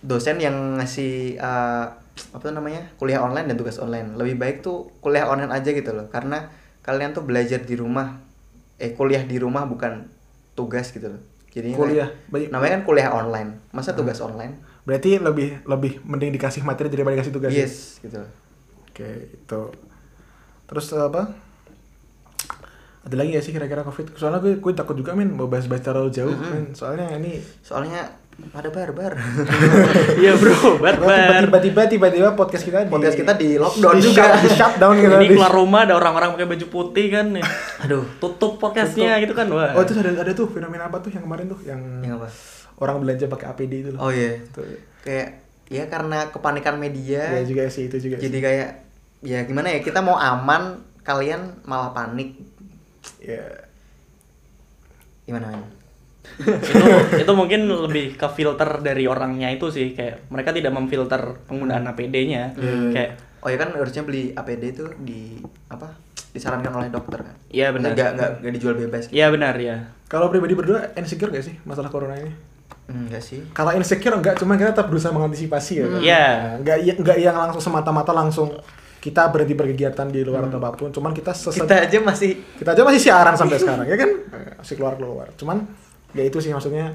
dosen yang ngasih eh, apa tuh namanya kuliah online dan tugas online lebih baik tuh kuliah online aja gitu loh karena kalian tuh belajar di rumah eh kuliah di rumah bukan tugas gitu loh jadi
Kuliah. Baik.
namanya kan kuliah online masa tugas online
berarti lebih lebih mending dikasih materi daripada dikasih tugas ya?
yes gitu loh.
oke itu terus eh, apa ada lagi ya sih kira-kira covid soalnya gue gue takut juga min mau bahas-bahas terlalu jauh men. soalnya ini
soalnya pada barbar
iya bro bat bat
tiba-tiba tiba-tiba podcast kita di,
Podcast kita di lockdown
di
juga.
shut- di shutdown gitu
Ini
Di-
keluar rumah ada orang-orang pakai baju putih kan ya. Aduh, tutup podcastnya gitu kan wah.
oh itu ada ada tuh fenomena apa tuh yang kemarin tuh yang
Yang apa?
orang belanja pakai APD itu loh
oh iya
Itu.
kayak ya karena kepanikan media
ya juga sih itu juga
jadi
sih.
kayak ya gimana ya kita mau aman kalian malah panik
ya
gimana men?
itu itu mungkin lebih ke filter dari orangnya itu sih kayak mereka tidak memfilter penggunaan
Hmm.
APD-nya
Eh,
Hmm, kayak
Oh ya kan harusnya beli APD itu di apa? Disarankan oleh dokter kan?
Iya, benar.
Nggak nggak nggak dijual bebas.
ya benar ya
Kalau pribadi berdua insecure gak sih masalah corona ini?
Enggak sih.
Kalau insecure enggak, cuma kita tetap berusaha mengantisipasi ya.
Hmm.
kan?
Iya.
Nah, Enggak iya- enggak yang langsung semata-mata langsung kita berhenti berkegiatan di
Hmm.
luar atau apapun, cuman kita sesed
Kita aja masih
kita aja masih siaran sampai sekarang ya kan masih keluar keluar cuman ya itu sih maksudnya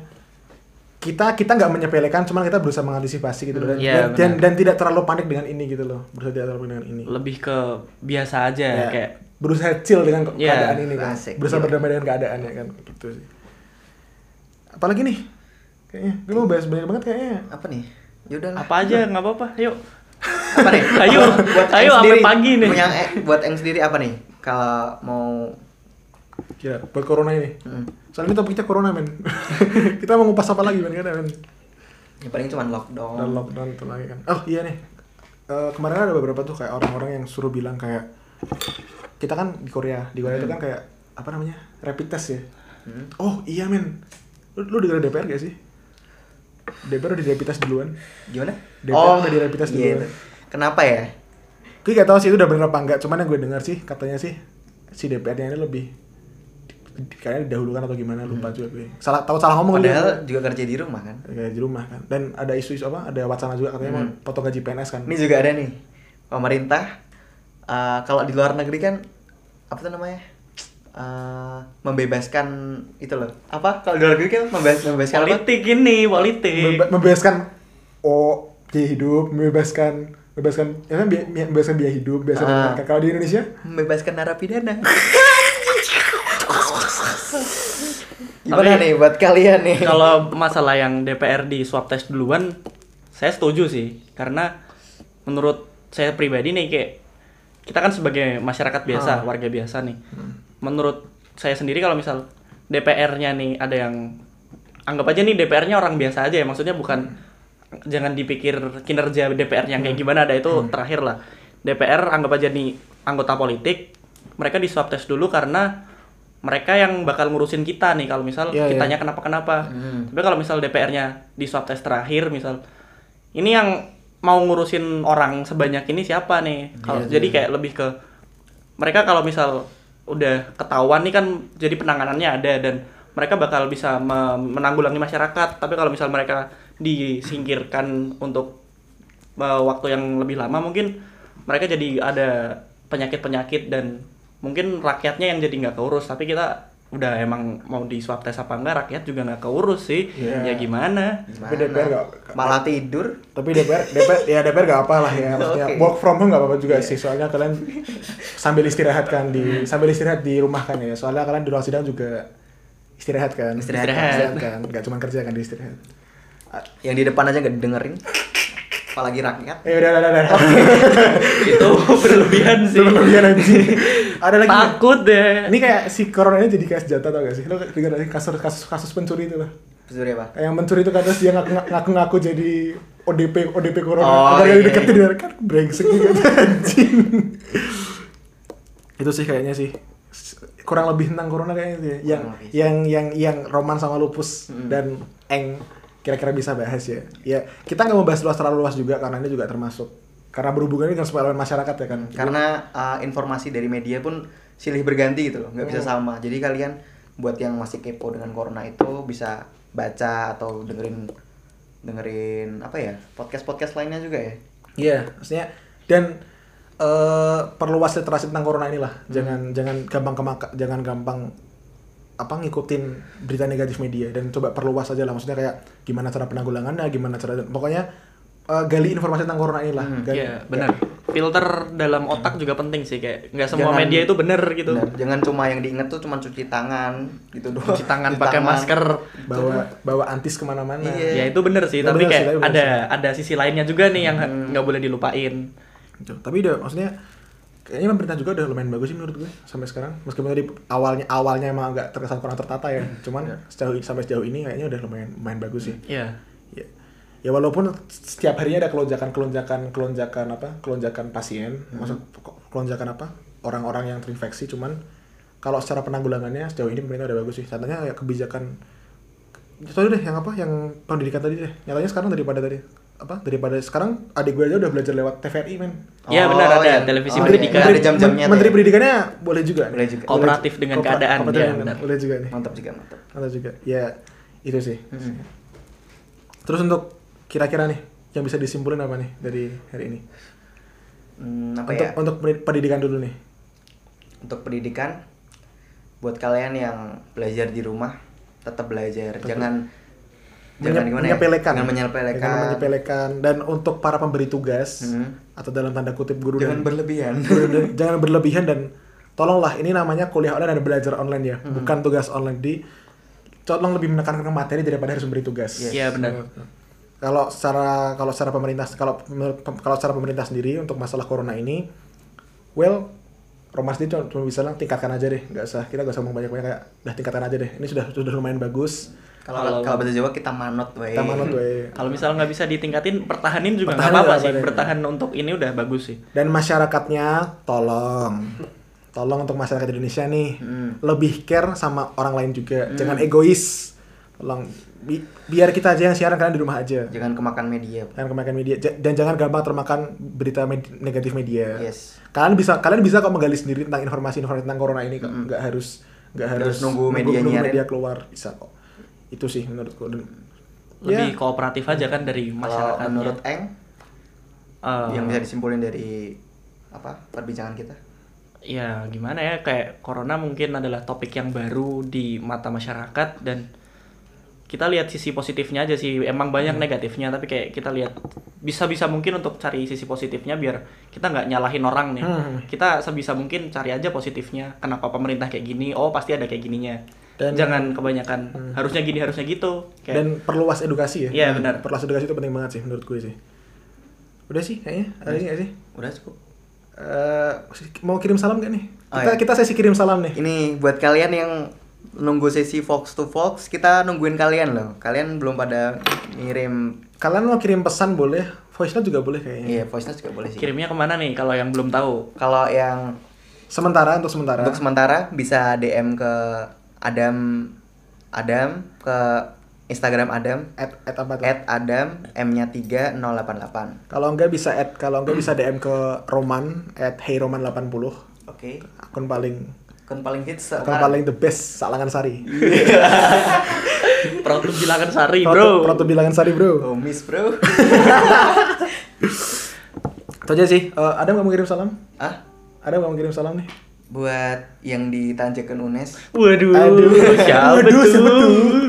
kita kita nggak menyepelekan cuman kita berusaha mengantisipasi gitu loh. dan,
Iya,
dan, dan,
benar.
dan tidak terlalu panik dengan ini gitu loh berusaha tidak terlalu panik dengan ini
lebih ke biasa aja
Ya,
Iya, kayak
berusaha chill dengan ke-
Iya,
keadaan ini kan
asik.
berusaha
Iya.
berdamai dengan keadaan ya kan gitu sih apalagi nih kayaknya gue mau bahas banyak banget kayaknya
apa nih? Yaudah lah.
apa aja
Nah.
nggak apa-apa yuk
Apa nih?
Ayo,
Eng
ayo, sampai
sendiri.
pagi nih.
Yang Eng- buat Eng sendiri apa nih? Kalau mau
ya buat corona ini
Mm.
soalnya ini topiknya corona men kita mau ngupas apa lagi men kan men
ya paling cuma lockdown.
dan lockdown tuh lagi kan oh iya nih Eh, kemarin ada beberapa tuh kayak orang-orang yang suruh bilang kayak kita kan di Korea di Korea itu kan kayak apa namanya rapid test ya
Hmm.
oh iya men lu, lu dengar DPR gak sih DPR udah di rapid test duluan
Gimana?
DPR udah di rapid test
iya
duluan.
itu. Kenapa ya?
gue gak tahu sih itu udah bener apa enggak cuman yang gue dengar sih katanya sih si DPR nya ini lebih di- di- kayaknya didahulukan atau gimana lupa juga gue salah tahu salah ngomong dia.
Hmm. Padahal juga kerja di rumah kan.
Kayak di rumah kan dan ada isu-isu apa ada wacana juga katanya mau potong gaji PNS kan
Ini juga ada nih. Pemerintah eh, kalau di luar negeri kan apa tuh namanya? Eh, membebaskan itu loh. Apa? Kalau di luar negeri kan membebas, membebaskan apa?
politik ini politik
Mebe- membebaskan oh biaya hidup membebaskan membebaskan ya kan biaya, membebaskan biaya hidup biasa
Ah.
dibebaskan. kalau di Indonesia
membebaskan narapidana. Gimana
Tapi-
nih buat kalian nih?
kalau masalah yang DPR di swab test duluan saya setuju sih karena menurut saya pribadi nih kayak kita kan sebagai masyarakat biasa
Ah.
warga biasa nih
Hmm.
menurut saya sendiri kalau misal DPR-nya nih ada yang anggap aja nih DPR-nya orang biasa aja ya maksudnya bukan
Hmm.
jangan dipikir kinerja DPR-nya kayak gimana ada itu terakhir lah DPR anggap aja nih anggota politik mereka di swab test dulu karena mereka yang bakal ngurusin kita nih kalau misal
Iya, iya.
kitanya kenapa-kenapa.
Hmm.
Tapi kalau misal DPR-nya di swab test terakhir misal ini yang mau ngurusin orang sebanyak ini siapa nih? Kalau jadi kayak lebih ke mereka kalau misal udah ketahuan nih kan jadi penanganannya ada dan mereka bakal bisa me- menanggulangi masyarakat. Tapi kalau misal mereka disingkirkan untuk eh, waktu yang lebih lama mungkin mereka jadi ada penyakit-penyakit dan mungkin rakyatnya yang jadi nggak keurus tapi kita udah emang mau di swab tes apa enggak rakyat juga nggak keurus sih
Iya.
ya gimana
Tapi DPR nggak-
Malah tidur.
tapi DPR DPR ya DPR gak apa lah ya maksudnya
Oke.
work from home gak apa-apa juga sih soalnya kalian sambil istirahat kan di sambil istirahat di rumah kan ya soalnya kalian di ruang sidang juga istirahat kan
Istirahat.
kan nggak cuma kerja kan di istirahat
Yang di depan aja nggak didengerin. Apalagi rakyat.
eh udah udah udah, udah
itu berlebihan sih
berlebihan anjing ada lagi nggak?
takut deh
ini kayak si corona ini jadi kayak senjata tau gak sih lo dengar dari kasus kasus kasus pencuri itu lah
Pencuri apa?
Kayak yang mencuri itu kan terus dia ngaku- ngaku-ngaku jadi ODP ODP corona
Oh,
agar
iya,
gak
iya.
dideketin iya. kan brengsek juga anjing itu sih kayaknya sih S- kurang lebih tentang corona kayaknya sih yang
Kurang lebih. Hmm.
yang yang yang Roman sama Lupus dan Eng kira-kira bisa bahas ya ya kita nggak mau bahas luas terlalu luas juga karena ini juga termasuk karena berhubungan dengan semua elemen masyarakat ya kan
Karena uh, informasi dari media pun silih berganti gitu loh, nggak
Oh.
bisa sama. Jadi kalian buat yang masih kepo dengan corona itu bisa baca atau dengerin dengerin apa ya podcast podcast lainnya juga ya.
Iya, maksudnya dan eh perluas literasi tentang corona inilah.
Hmm.
Jangan jangan gampang kemaka, jangan gampang apa ngikutin berita negatif media dan coba perluas aja lah. Maksudnya kayak gimana cara penanggulangannya, gimana cara pokoknya eh, gali informasi tentang corona inilah. Gali-
Iya, benar filter dalam otak juga penting sih kayak nggak semua
Jangan-
media itu bener gitu
Nah, jangan cuma yang diinget tuh cuma cuci tangan gitu doang.
cuci tangan pakai masker
Bawa bawa antis kemana-mana.
Iya.
ya itu bener sih
Ya,
tapi
bener sih, Hmm.
kayak
tapi bener
ada ada sisi lainnya juga nih yang nggak boleh dilupain
Gitu. Tapi udah maksudnya kayaknya pemerintah juga udah lumayan bagus sih menurut gue sampai sekarang. Meskipun tadi awalnya awalnya emang agak terkesan kurang tertata ya.
Hmm,
Cuman sejauh sampai sejauh ini kayaknya udah lumayan lumayan bagus sih.
Iya.
Ya. Ya walaupun setiap harinya ada kelonjakan kelonjakan kelonjakan apa kelonjakan pasien, maksud kelonjakan apa orang-orang yang terinfeksi, cuman kalau secara penanggulangannya sejauh ini pemerintah udah bagus sih. Contohnya kayak kebijakan Sorry deh, yang apa? Yang pendidikan tadi deh. Nyatanya sekarang daripada tadi apa? Daripada sekarang adik gue aja udah belajar lewat TVRI, men.
Iya, benar, ada
yang-
televisi
oh, iya,
pendidikan.
Ada jam-jamnya.
Menteri
tuh ya.
Pendidikannya boleh juga. nih.
Boleh juga.
Kooperatif dengan
Koopera-
keadaan,
kooperatif
iya,
dengan-
benar.
Boleh juga nih.
Mantap juga, mantap.
Ada juga. Ya, itu sih.
Hmm.
Mm-mm.
Terus untuk kira-kira nih yang bisa disimpulin apa nih dari hari ini?
Hmm, apa
Untuk
ya?
untuk pendidik- pendidikan dulu nih.
Untuk pendidikan buat kalian yang belajar di rumah tetap belajar. Jangan jangan
Menye-
gimana
menyepelekan.
ya? Jangan menyepelekan.
Jangan menyepelekan. Dan untuk para pemberi tugas
Hmm.
atau dalam tanda kutip guru
Jangan
dan
berlebihan.
guru dan- jangan berlebihan dan tolonglah ini namanya kuliah online dan belajar online ya,
Hmm.
bukan tugas online di tolong lebih menekankan ke materi daripada harus memberi tugas.
Yes.
Iya, benar.
Kalau secara kalau secara pemerintah kalau menurut- kalau secara pemerintah sendiri untuk masalah corona ini, well Romas itu cuma bisa bilang tingkatkan aja deh, nggak usah kita nggak usah ngomong banyak-banyak, kayak, udah tingkatkan aja deh. Ini sudah sudah lumayan bagus. eh."
Kalau kalau bahasa Jawa kita manot, wey.
Kita manut we.
Kalau misal nggak bisa ditingkatin, pertahanin juga nggak
Pertahanin
apa-apa
nggak
sih.
apa-apa.
Bertahan untuk ini udah bagus sih.
Dan masyarakatnya tolong, tolong untuk masyarakat Indonesia nih lebih care sama orang lain juga, jangan egois. Tolong bi- biar kita aja yang siaran kalian di rumah aja.
Jangan kemakan media.
Jangan kemakan media J- dan jangan gampang termakan berita med- negatif media.
Yes.
Kalian bisa kalian bisa kok menggali sendiri tentang informasi-informasi tentang corona ini kok. Nggak harus nggak
Nggak
harus
Hmm. harus nunggu ya, media nyiarin.
media keluar bisa kok. Itu sih menurutku. Dan,
Lebih
ya,
kooperatif aja kan dari Eh,
Kalau
masyarakat.
menurut Eng, yang bisa disimpulin dari apa perbincangan kita?
ya gimana ya kayak corona mungkin adalah topik yang baru di mata masyarakat dan kita lihat sisi positifnya aja sih emang
Iya.
banyak negatifnya tapi kayak kita lihat bisa bisa mungkin untuk cari sisi positifnya biar kita nggak nyalahin orang nih
Hmm.
kita sebisa mungkin cari aja positifnya kenapa pemerintah kayak gini oh pasti ada kayak gininya
Dan- Hmm.
jangan kebanyakan harusnya gini harusnya gitu kayak
dan perluas edukasi ya.
Iya, benar.
Perluas edukasi itu penting banget sih menurut gue sih. Udah sih kayaknya. Ada lagi nggak sih?
Udah cukup.
Eh, mau kirim salam gak nih?
Oh,
Kita
iya.
kita sesi kirim salam nih.
Ini buat kalian yang nunggu sesi Fox to Fox, kita nungguin kalian loh. Kalian belum pada ngirim
Kalian mau kirim pesan boleh, voice note juga boleh kayaknya.
Iya, voice note juga boleh sih.
kirimnya kemana nih kalau yang belum tahu
Kalau yang
Sementara untuk sementara.
untuk sementara bisa DM ke Adam Adam ke Instagram Adam
at, at apa tuh?
at Adam M-nya 3088.
Kalau enggak bisa add, kalau enggak bisa DM ke Roman at heyroman80
Oke.
akun paling
Akun paling hits
akun paling the best Salangan Sari.
Proto Bilangan Sari
Proto-
bro
Proto bilangan Sari, Bro.
Oh, miss bro.
Itu aja sih. Eh, ada nggak mau kirim salam?
ah,
Ada nggak mau kirim salam nih?
buat yang ditanjakan UNES
waduh
Aduh.
siapa
Waduh, siapa
tuh?
tuh?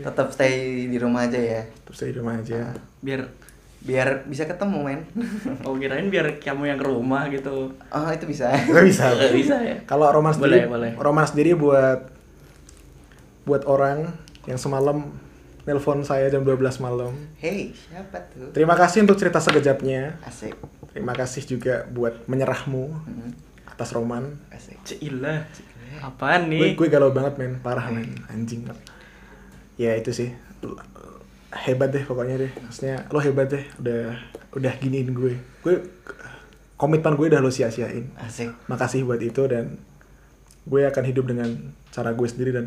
tetap stay di rumah aja ya.
Terus saya di rumah aja.
Ah.
biar
Biar bisa ketemu, men.
Oh kirain biar kamu yang ke rumah gitu
Oh, itu bisa.
Nggak bisa.
Nggak bisa ya
Kalau Roman sendiri,
Boleh, boleh.
Roman sendiri buat buat orang yang semalam nelpon saya jam 12 malam.
Hey, siapa tuh?
Terima kasih untuk cerita sekejapnya.
Asik.
Terima kasih juga buat menyerahmu
Hmm,
atas Roman.
asik.
Cilah Apaan
Gue,
nih?
gue galau banget men, parah men, anjing. Ya itu sih, Lu- hebat deh pokoknya deh. Maksudnya lo hebat deh, udah udah giniin gue. Gue komitmen gue udah lo sia-siain.
Asik.
Makasih buat itu dan gue akan hidup dengan cara gue sendiri dan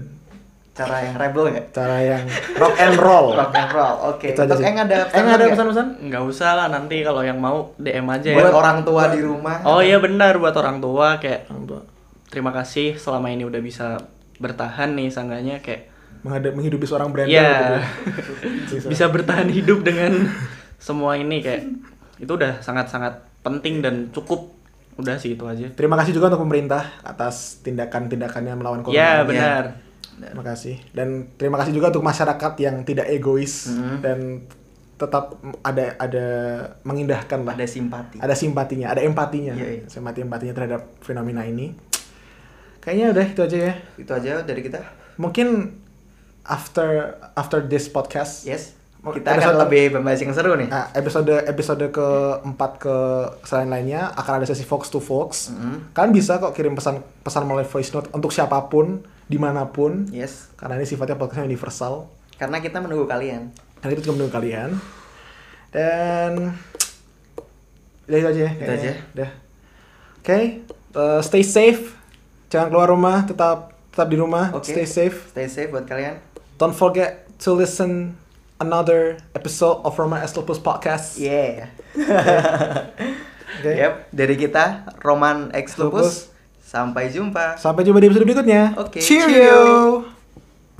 Cara yang rebel nggak?
cara yang rock and roll.
Rock and roll. Oke.
Itu aja
Untuk
sih.
Eng ada
Eng ada
nggak?
pesan-pesan?
Nggak usah lah nanti kalau yang mau DM aja ya
Buat orang tua di rumah.
Oh iya benar buat orang tua kayak
Orang tua.
Terima kasih selama ini udah bisa bertahan nih sangkanya kayak
Menghadap menghidupi seorang brand
Iya
gitu.
Bisa bertahan hidup dengan semua ini kayak Itu udah sangat-sangat penting dan cukup Udah sih itu aja
Terima kasih juga untuk pemerintah atas tindakan-tindakannya melawan corona.
Ya benar
Terima kasih. Dan terima kasih juga untuk masyarakat yang tidak egois
Mm-hmm.
dan tetap ada ada mengindahkan lah.
Ada simpati.
iya. Ada simpatinya, ada empatinya.
Iya, iya.
Simpati empatinya terhadap fenomena ini. Kayaknya udah itu aja ya.
Itu aja dari kita.
Mungkin after after this podcast
Yes.
Mau- Oh,
Kita
ada
akan
satu-
lebih membahas yang seru nih.
Nah, episode episode keempat ke selain lainnya akan ada sesi Fox to Fox.
Mm-hmm.
Kalian bisa kok kirim pesan pesan melalui voice note untuk siapapun dimanapun
Yes.
karena ini sifatnya podcast universal.
Karena kita menunggu kalian.
Dan itu juga menurut kalian. Dan udah itu aja ya. kayaknya.
aja.
Udah. Oke, eh, stay safe. Jangan keluar rumah, tetap tetap di rumah,
Oke.
stay safe.
Stay safe buat kalian.
Don't forget to listen another episode of Roman Estopus podcast.
Yeah.
Oke.
Yep, dari kita Roman X Lupus. Sampai jumpa.
Sampai jumpa di episode berikutnya.
Oke,
Cheerio.
cheerio.